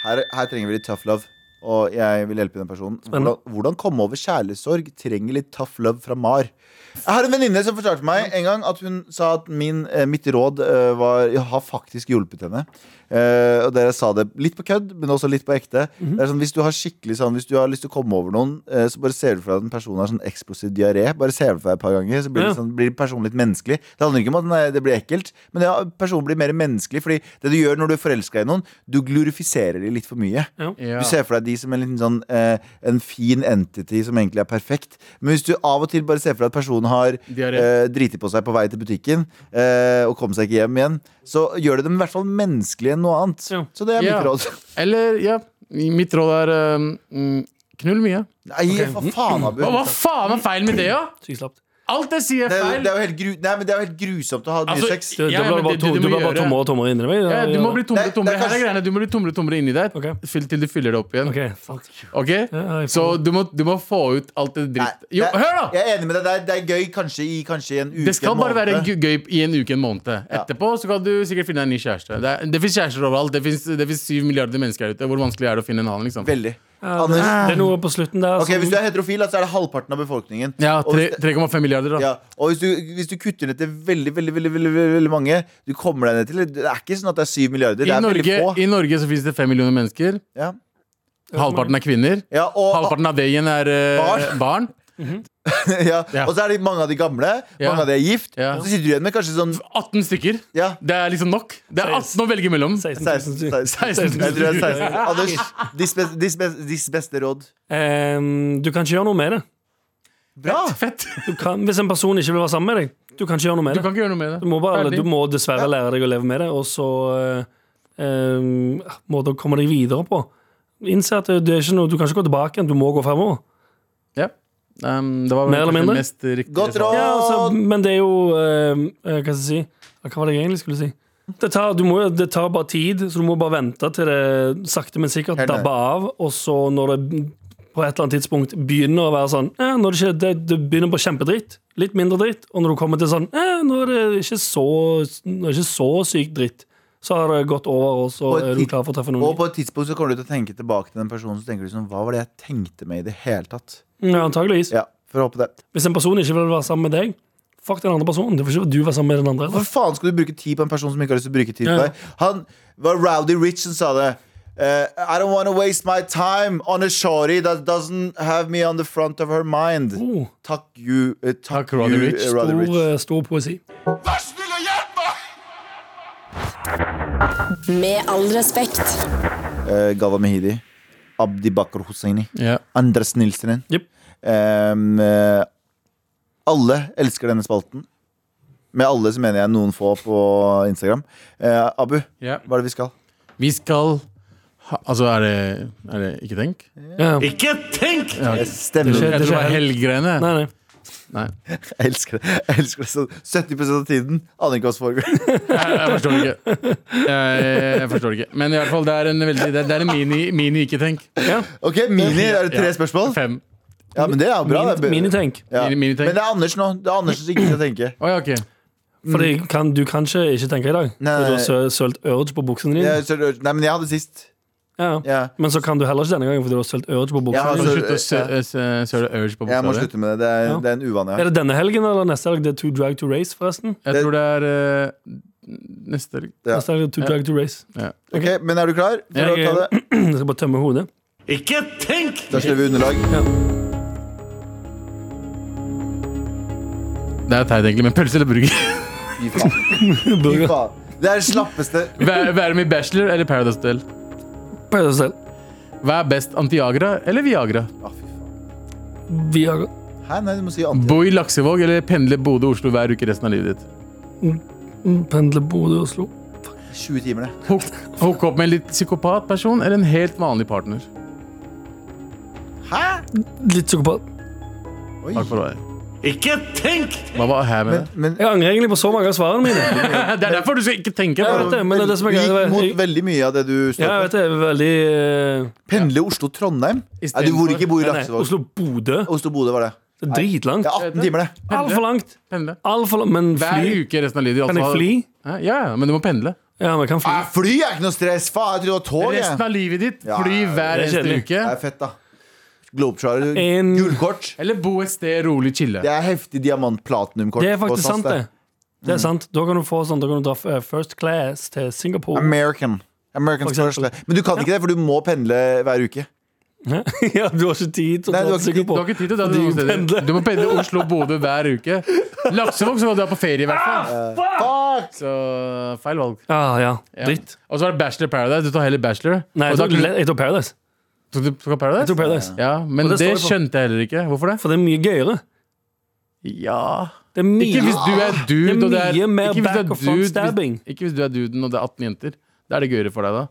Her, her trenger vi litt tough love. Og jeg vil hjelpe den personen. Hvordan, hvordan komme over kjærlighetssorg trenger litt tough love fra Mar. Jeg har en venninne som fortalte meg en gang at hun sa at min, eh, mitt råd eh, var, har faktisk hjulpet henne. Eh, og dere sa det litt på kødd, men også litt på ekte. Det er sånn, Hvis du har skikkelig sånn Hvis du har lyst til å komme over noen, eh, så bare ser du for deg at en person har sånn eksplosiv diaré. Bare ser du for deg et par ganger, så blir, det Ja. sånn, blir personen litt menneskelig. Det handler ikke om at den er- det blir ekkelt, men ja, personen blir mer menneskelig. Fordi det du gjør når du er forelska i noen, du glorifiserer dem litt for mye. Ja. Du ser for deg de som en liten sånn eh, En fin entity som egentlig er perfekt. Men hvis du av og til bare ser for deg at personen har Diaré. eh, driti på seg på vei til butikken eh, og kom seg ikke hjem igjen, så gjør det dem i hvert fall menneskelige enn noe annet. Ja. Så det er mitt Ja. råd. Eller, ja, mitt råd er eh, mm, knull mye. Nei, for faen, Abu. Hva, hva faen er feil med det, da? Sykt slapt. Alt jeg sier, Det er er, jo- feil. det, er jo helt gru nei, men det er jo helt grusomt å ha mye Altså, sex. Du, Ja, du ble men bare, det- tom, det du du må ble bare gjøre- tommere og tommere inni deg. Ja, du må bli Det tomre er- det tomre er her er kanskje- greiene. Du må bli tomre tomre inni deg Ok. fyll- til du fyller det opp igjen. Ok, fuck. Ok? Ja, jeg får- Så du må, du må få ut alt det Nei, dritt Jo, det er- hør, da! Jeg er enig med deg. Det er, det er gøy kanskje i kanskje i en uke. Det skal en bare være måned. gøy gøy i en uke, en måned. Etterpå så kan du sikkert finne deg en ny kjæreste. Det, er- det fins kjærester overalt. Det fins det finnes syv milliarder mennesker her ute. Hvor vanskelig er det å finne en annen? liksom Veldig. Ja, det, Anders, det er noe på slutten der ok, Altså, som- hvis du er heterofil, da, så er det halvparten av befolkningen. Ja, Og hvis tre- det- 3,5 milliarder, da. Ja, og hvis du, hvis du kutter ned til veldig, veldig, veldig, veldig, veldig, veldig mange Du kommer deg ned til Det er ikke sånn at det er syv milliarder. Det I, er Norge, veldig få. I Norge så fins det fem millioner mennesker. Ja. Halvparten er kvinner. Ja, og, Halvparten av det igjen er eh, barn. ja. Ja. og så er det mange av de gamle. Ja. Mange av de er gift. Ja. Så sitter du igjen med kanskje sånn 18 stykker. Ja, Det er liksom nok. Det er 18 å velge mellom. 16 16 000. 16 Jeg tror det er 16. Anders, ditt beste, ditt beste, ditt beste råd. Em, Ehm, du kan ikke gjøre noe med det. Bra! Fett. Du kan, hvis en person ikke vil være sammen med deg, du kan ikke gjøre noe med Du det. kan ikke gjøre noe med det. Du må, bare, Ferdig. du må dessverre lære deg å leve med det, og så eh, em, må du komme deg videre på. Innse at det det er ikke noe, du kan ikke gå tilbake igjen, du må gå fremover. Ja. Um, det var Mer eller kanskje mindre? mest riktige Godt svar. råd. Ja, altså, men det er jo em, eh, Hva skal jeg si? Hva var det jeg egentlig skulle si? Det tar, du må, jo- det tar bare tid, så du må bare vente til det sakte, men sikkert Helt enig. dabber av. Og så når det på et eller annet tidspunkt begynner å være sånn eh, når det, ikke, det, det begynner på kjempedritt, litt mindre dritt, og når du kommer til sånn eh, Nå er det ikke så, nå er det ikke så sykt dritt, så har det gått over, og så Og et er du tid- klar for å treffe noen. Og på et tidspunkt så kommer du til å tenke tilbake til den personen, så tenker du sånn Hva var det jeg tenkte med i det hele tatt? Ja, antageligvis. Ja, for å håpe det. Hvis en person ikke vil være sammen med deg, fuck den andre personen. Det får ikke du være sammen med den andre. Hvorfor faen skal du bruke tid på en person som ikke har lyst til å bruke tid på Ja. deg? Han var Rowdy Rich som sa det. Eh, I don't wanna waste my time on a shorty that doesn't have me on the front of her mind. Oh, Takk you, eh, takk Takk, Rowdy you, Rich. eh, Rowdy stor, Rich. eh, stor poesi. Med all respekt. Eh, Gava Mehidi. Abdi Bakr Hosseini. Ja. Anders Nilsen. Jep. Em, eh, alle elsker denne spalten. Med alle så mener jeg noen få på Instagram. Eh, Abu, Ja. hva er det vi skal? Vi skal ha, Altså, er det, er det Ikke tenk? Ja. Nei, Eh, Stemmer. skjer- Jeg tror det var helg. helggreiene. nei. Nei. Jeg elsker det. Jeg elsker det sånn 70 av tiden aner ikke hva som foregår. Jeg, jeg forstår det ikke. Jeg, jeg forstår det ikke. Men i hvert fall, det er en veldig Det er, det er en mini, mini ikke tenk. Ja. Ok, Mini, er det tre spørsmål? Fem. Ja, men Det er jo bra. det er Mini- bra. Minitenk. Ja. Mini- Men minitenk. det er Anders nå. Det er Anders som ikke skal tenke. Å ja, ok. For det kan, du kan ikke ikke tenke i dag. Nei, For du har nei. sø- sølt urge på buksene dine. Jeg, så- nei, men jeg hadde sist. Ja. Ja. Men så kan du heller ikke denne gangen, fordi du har sølt urge på Jeg har buksene. Kan altså, du slutte å sø- ja. sø- søle urge på Jeg må bokstaver? slutte med det. Det er, Ja. det er en uvane jeg Er har. det denne helgen eller neste helg? Det er To Drag to Race, forresten. Jeg tror det er eh, neste helg. Ja. Neste helg er to drag to race. Ok, men er du klar? For Jeg- å ta det? Jeg skal bare tømme hodet. Ikke tenk! Da slår vi underlag. Det er teit, egentlig, men pølse eller burger? Fy faen. Fy Burger. faen. Det er det slappeste Vær- Være med i Bachelor eller Paradise Hotel? På deg selv. Hva er best, Antiagra eller Viagra? Å, fy faen. Vi har Hæ, nei, du må si anti. Bo i Laksevåg eller pendle Bodø-Oslo hver uke resten av livet ditt? pendler Bodø og Oslo. 20 timer, det. Hook, hook opp med en litt psykopat person eller en helt vanlig partner? Hæ? Litt psykopat. Oi. Takk for det. Ikke tenk! Hva var her med Men, det? men Jeg angrer egentlig på så mange av svarene mine. Det er derfor du skal ikke Jeg tenke på vet det. det, men det er det som er du greia. gikk mot Jeg- veldig mye av det du Ja, jeg står vet det. jeg er Veldig eh, Pendle Oslo-Trondheim? Nei, du bor ikke bor i Nei, nei, Laksevåg. Oslo-Bodø. Oslo-Bodø var det. Det er dritlangt. Det er 18 timer, det. Altfor langt. Pendle. Alt for langt. Men Hver fly? uke resten av livet ditt. Kan jeg altså. fly? Hæ? Ja, ja, men du må pendle. Ja, men jeg kan fly. Nei, fly er ikke noe stress! Faen, jeg trodde det var tog. Resten Jeg. av livet ditt, Ja, fly hver det er eneste kjedelig. uke. Det er fett, da. Globetrotter. En- Gullkort. Eller bo et sted rolig chille. Det er heftig diamant-platinum-kort. Det er på faktisk SAS, sånn sant, det. Det Mm. er sant. Da kan du få sånn, da kan du dra eh, first class til Singapore. American. American For eksempel. Express. Men du kan ikke det, for du må pendle hver uke. Hæ? ja, du har ikke tid til å Nei, du har dra ikke tid. til Du Singapore. har ikke tid til å dra Fordi til noen du steder. pendler. Du må pendle Oslo-Bodø hver uke. Laksevåg så kan du dra på ferie, i hvert fall. Fuck! Så feil valg. Ah, ja. Ja. Dritt. Og så var det Bachelor Paradise. Du tar heller Bachelor. Nei, og jeg da, tok, jeg tok Paradise. tok du tok Paradise? Jeg tok Paradise. Ja, Men Og det det, står jeg for. skjønte jeg heller ikke. Hvorfor det? For det er mye gøyere. Ja Det er mye Ikke hvis du er dude, Det er og det mye er mer ikke hvis du back er og front dude, stabbing. hvis, Ikke hvis du er duden og det er 18 jenter. Da er det gøyere for deg, da.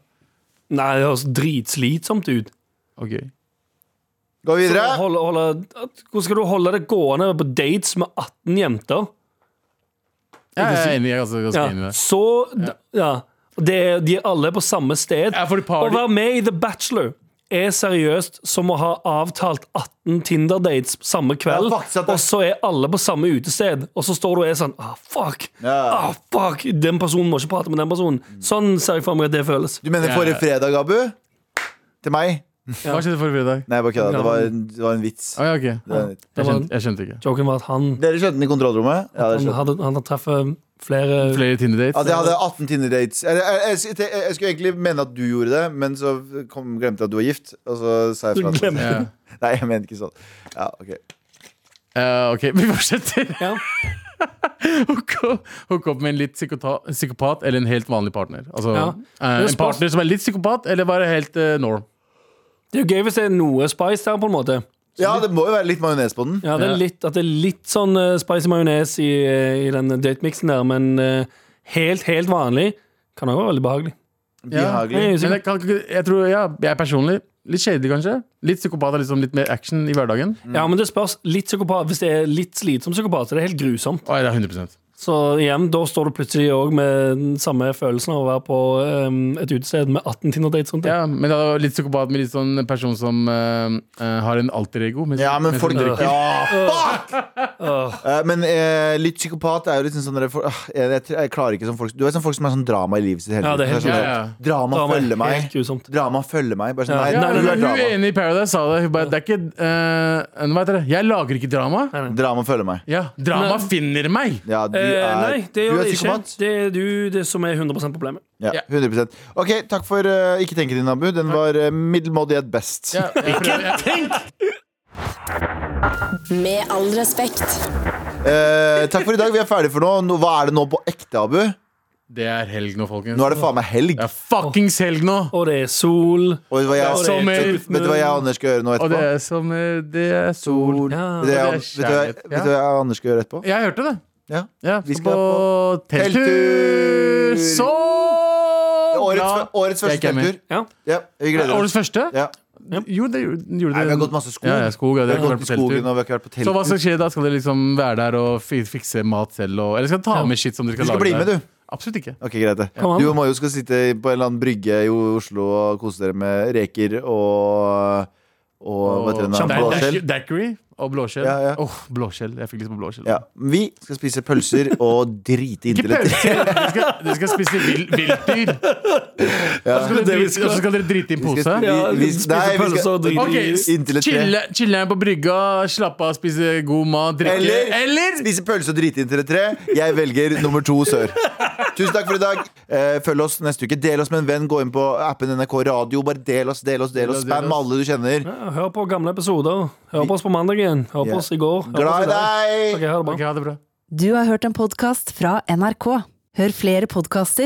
Nei, det høres dritslitsomt ut. Ok Gå Så videre. å Holde, holde, at- hvordan skal du holde det gående på dates med 18 jenter? Jeg er enig. Jeg er ganske, ganske Ja. enig i det. Så Ja. Og Det er, de er alle på samme sted. Ja, for de Å party- være med i The Bachelor er seriøst som å ha avtalt 18 Tinder-dates samme kveld, Ja, faktisk at det- og så er alle på samme utested, og så står du og er sånn ah, fuck. Ja. Ah, fuck. Den personen må ikke prate med den personen. Sånn ser jeg for meg at det føles. Du mener forrige fredag, Abu? Til meg? Hva skjedde forrige fredag? Nei, bare kødda. Det var en- det var en vits. Å, ja, ok. Det var en vits. Det Jeg var- skjønte, jeg skjønte ikke. Joken var at han, Dere skjønte den i kontrollrommet? Ja, dere han, skjønte. hadde, han hadde treffet flere, Flere Tinder-dates? At jeg hadde 18 Tinder-dates. Jeg, jeg, jeg, jeg, jeg skulle egentlig mene at du gjorde det, men så kom, glemte jeg at du var gift. Og så sa jeg Du fra. til glemte. deg. Ja. Nei, jeg mener ikke sånn. Ja, ok Eh, ok, vi fortsetter. Ja. Hook opp- hook opp med en litt psykota- psykopat eller en helt vanlig partner. Altså, Ja. eh, Men en spørs- partner som er litt psykopat, eller bare helt eh, norm. Det er jo gøy hvis det er noe spice der, på en måte. Ja, det må jo være litt majones på den. Ja, det Ja. er litt, at det er litt sånn eh, spicy majones i, eh, i den datemiksen der, men eh, helt, helt vanlig kan også være veldig behagelig. Behagelig. Jeg er Men usikker. jeg, kan, ikke- jeg tror ja, jeg er personlig litt kjedelig, kanskje. Litt psykopat er liksom litt mer action i hverdagen. Ja, men det spørs litt psykopat. Hvis det er litt slitsom psykopat, så er det helt grusomt. Å, ja, 100 Så igjen, da står du plutselig òg med den samme følelsen av å være på eh, et utested med 18 Tinder-dates rundt deg. ja, Men det er litt psykopat med litt sånn en person som eh, eh, har en alter ego. mens- Ja, men mens folk hun drikker. Ja, fuck! Eh, Men eh, litt psykopat er jo liksom sånn der, for, ah, jeg, jeg, jeg klarer ikke sånn folk Du vet sånn folk som er sånn drama i livet sitt hele Ja, det er tiden. Så helt- sånn ja, der, Drama Drama er følger helt meg. grusomt. Drama følger meg. Bare sånn, Ja. nei, Ja, nei, du er hun drama. enig i Paradise sa det. Hun bare, det er ikke eh, Hva heter det? Jeg lager ikke drama. Drama følger meg. Ja, Drama Nei. finner meg! Ja, du Eh, er, nei, du det gjør er det ikke. psykopat. Det er du det som er 100 problemet. Ja, 100 Ok, takk for eh, Ikke tenke din, Abu. Den var uh, middelmådig at best. Ja, jeg prøver, jeg, Med all respekt. Eh, takk for i dag. Vi er ferdige for nå. nå. Hva er det nå på ekte, Abu? det er helg nå, folkens. Nå er det faen meg helg. Det er fuckings helg nå! Og det er sol. Og vet du hva jeg, Ja, det er vet, sommer. vet du hva jeg og Anders skal gjøre nå Og det etterpå? er som eh, Det er sol Ja, Vet du hva jeg, og det er vet du hva jeg, kjærlighet. vet du hva jeg og Anders skal gjøre etterpå? Jeg hørte det. Ja. Ja, Vi skal skal på telttur. telttur! Så Årets, bra! årets Jeg er første ikke med. telttur. Ja. Ja, vi Er det gleder oss. Årets første? Ja. Jo, det gjorde gjorde Nei, det. vi har gått masse skog. Ja, ja, skog, ja, Vi det har har gått i vært på telttur. skogen og vi har ikke vært på Så hva telttur. skal skje da? Skal dere liksom være der og fi- fikse mat selv? Og, eller skal dere ta med shit som dere Du skal skal bli lage med, der? du. Absolutt ikke. Ok, greit det. Kom an. Du og Mayo skal sitte på en eller annen brygge i Oslo og kose dere med reker og og hva heter den da? Det er Blåskjell. daiqu- Daiquiri og blåskjell. Ja, ja. Åh, blåskjell. Jeg fikk lyst på blåskjell. Ja. Vi skal spise pølser og drite i Ikke internett. pølse! Dere skal, dere skal spise vill- viltdyr. Og så skal dere drite- og så skal dere drite i en Vi pose. skal- vi- Ja, vi- spise nei, vi pølser skal- og drite i- Ok, s- Inntil et tre. chille, chille her på brygga, slappe av, spise god mat, drikke Eller, Eller spise pølse og drite inn til et tre. Jeg velger nummer to sør. Tusen takk for i dag. Eh, Følg oss neste uke. Del oss med en venn. Gå inn på appen NRK Radio. Bare del oss, del oss, del oss. Del oss, del Spam oss. alle du kjenner. Ja, Hør på gamle episoder. Hør på oss på mandag igjen. Hør Ja. på oss i går. Hør Glad i på oss i dag. deg! Ok, ha det bra. Ok, ha det bra. Du har hørt en podkast fra NRK. Hør flere podkaster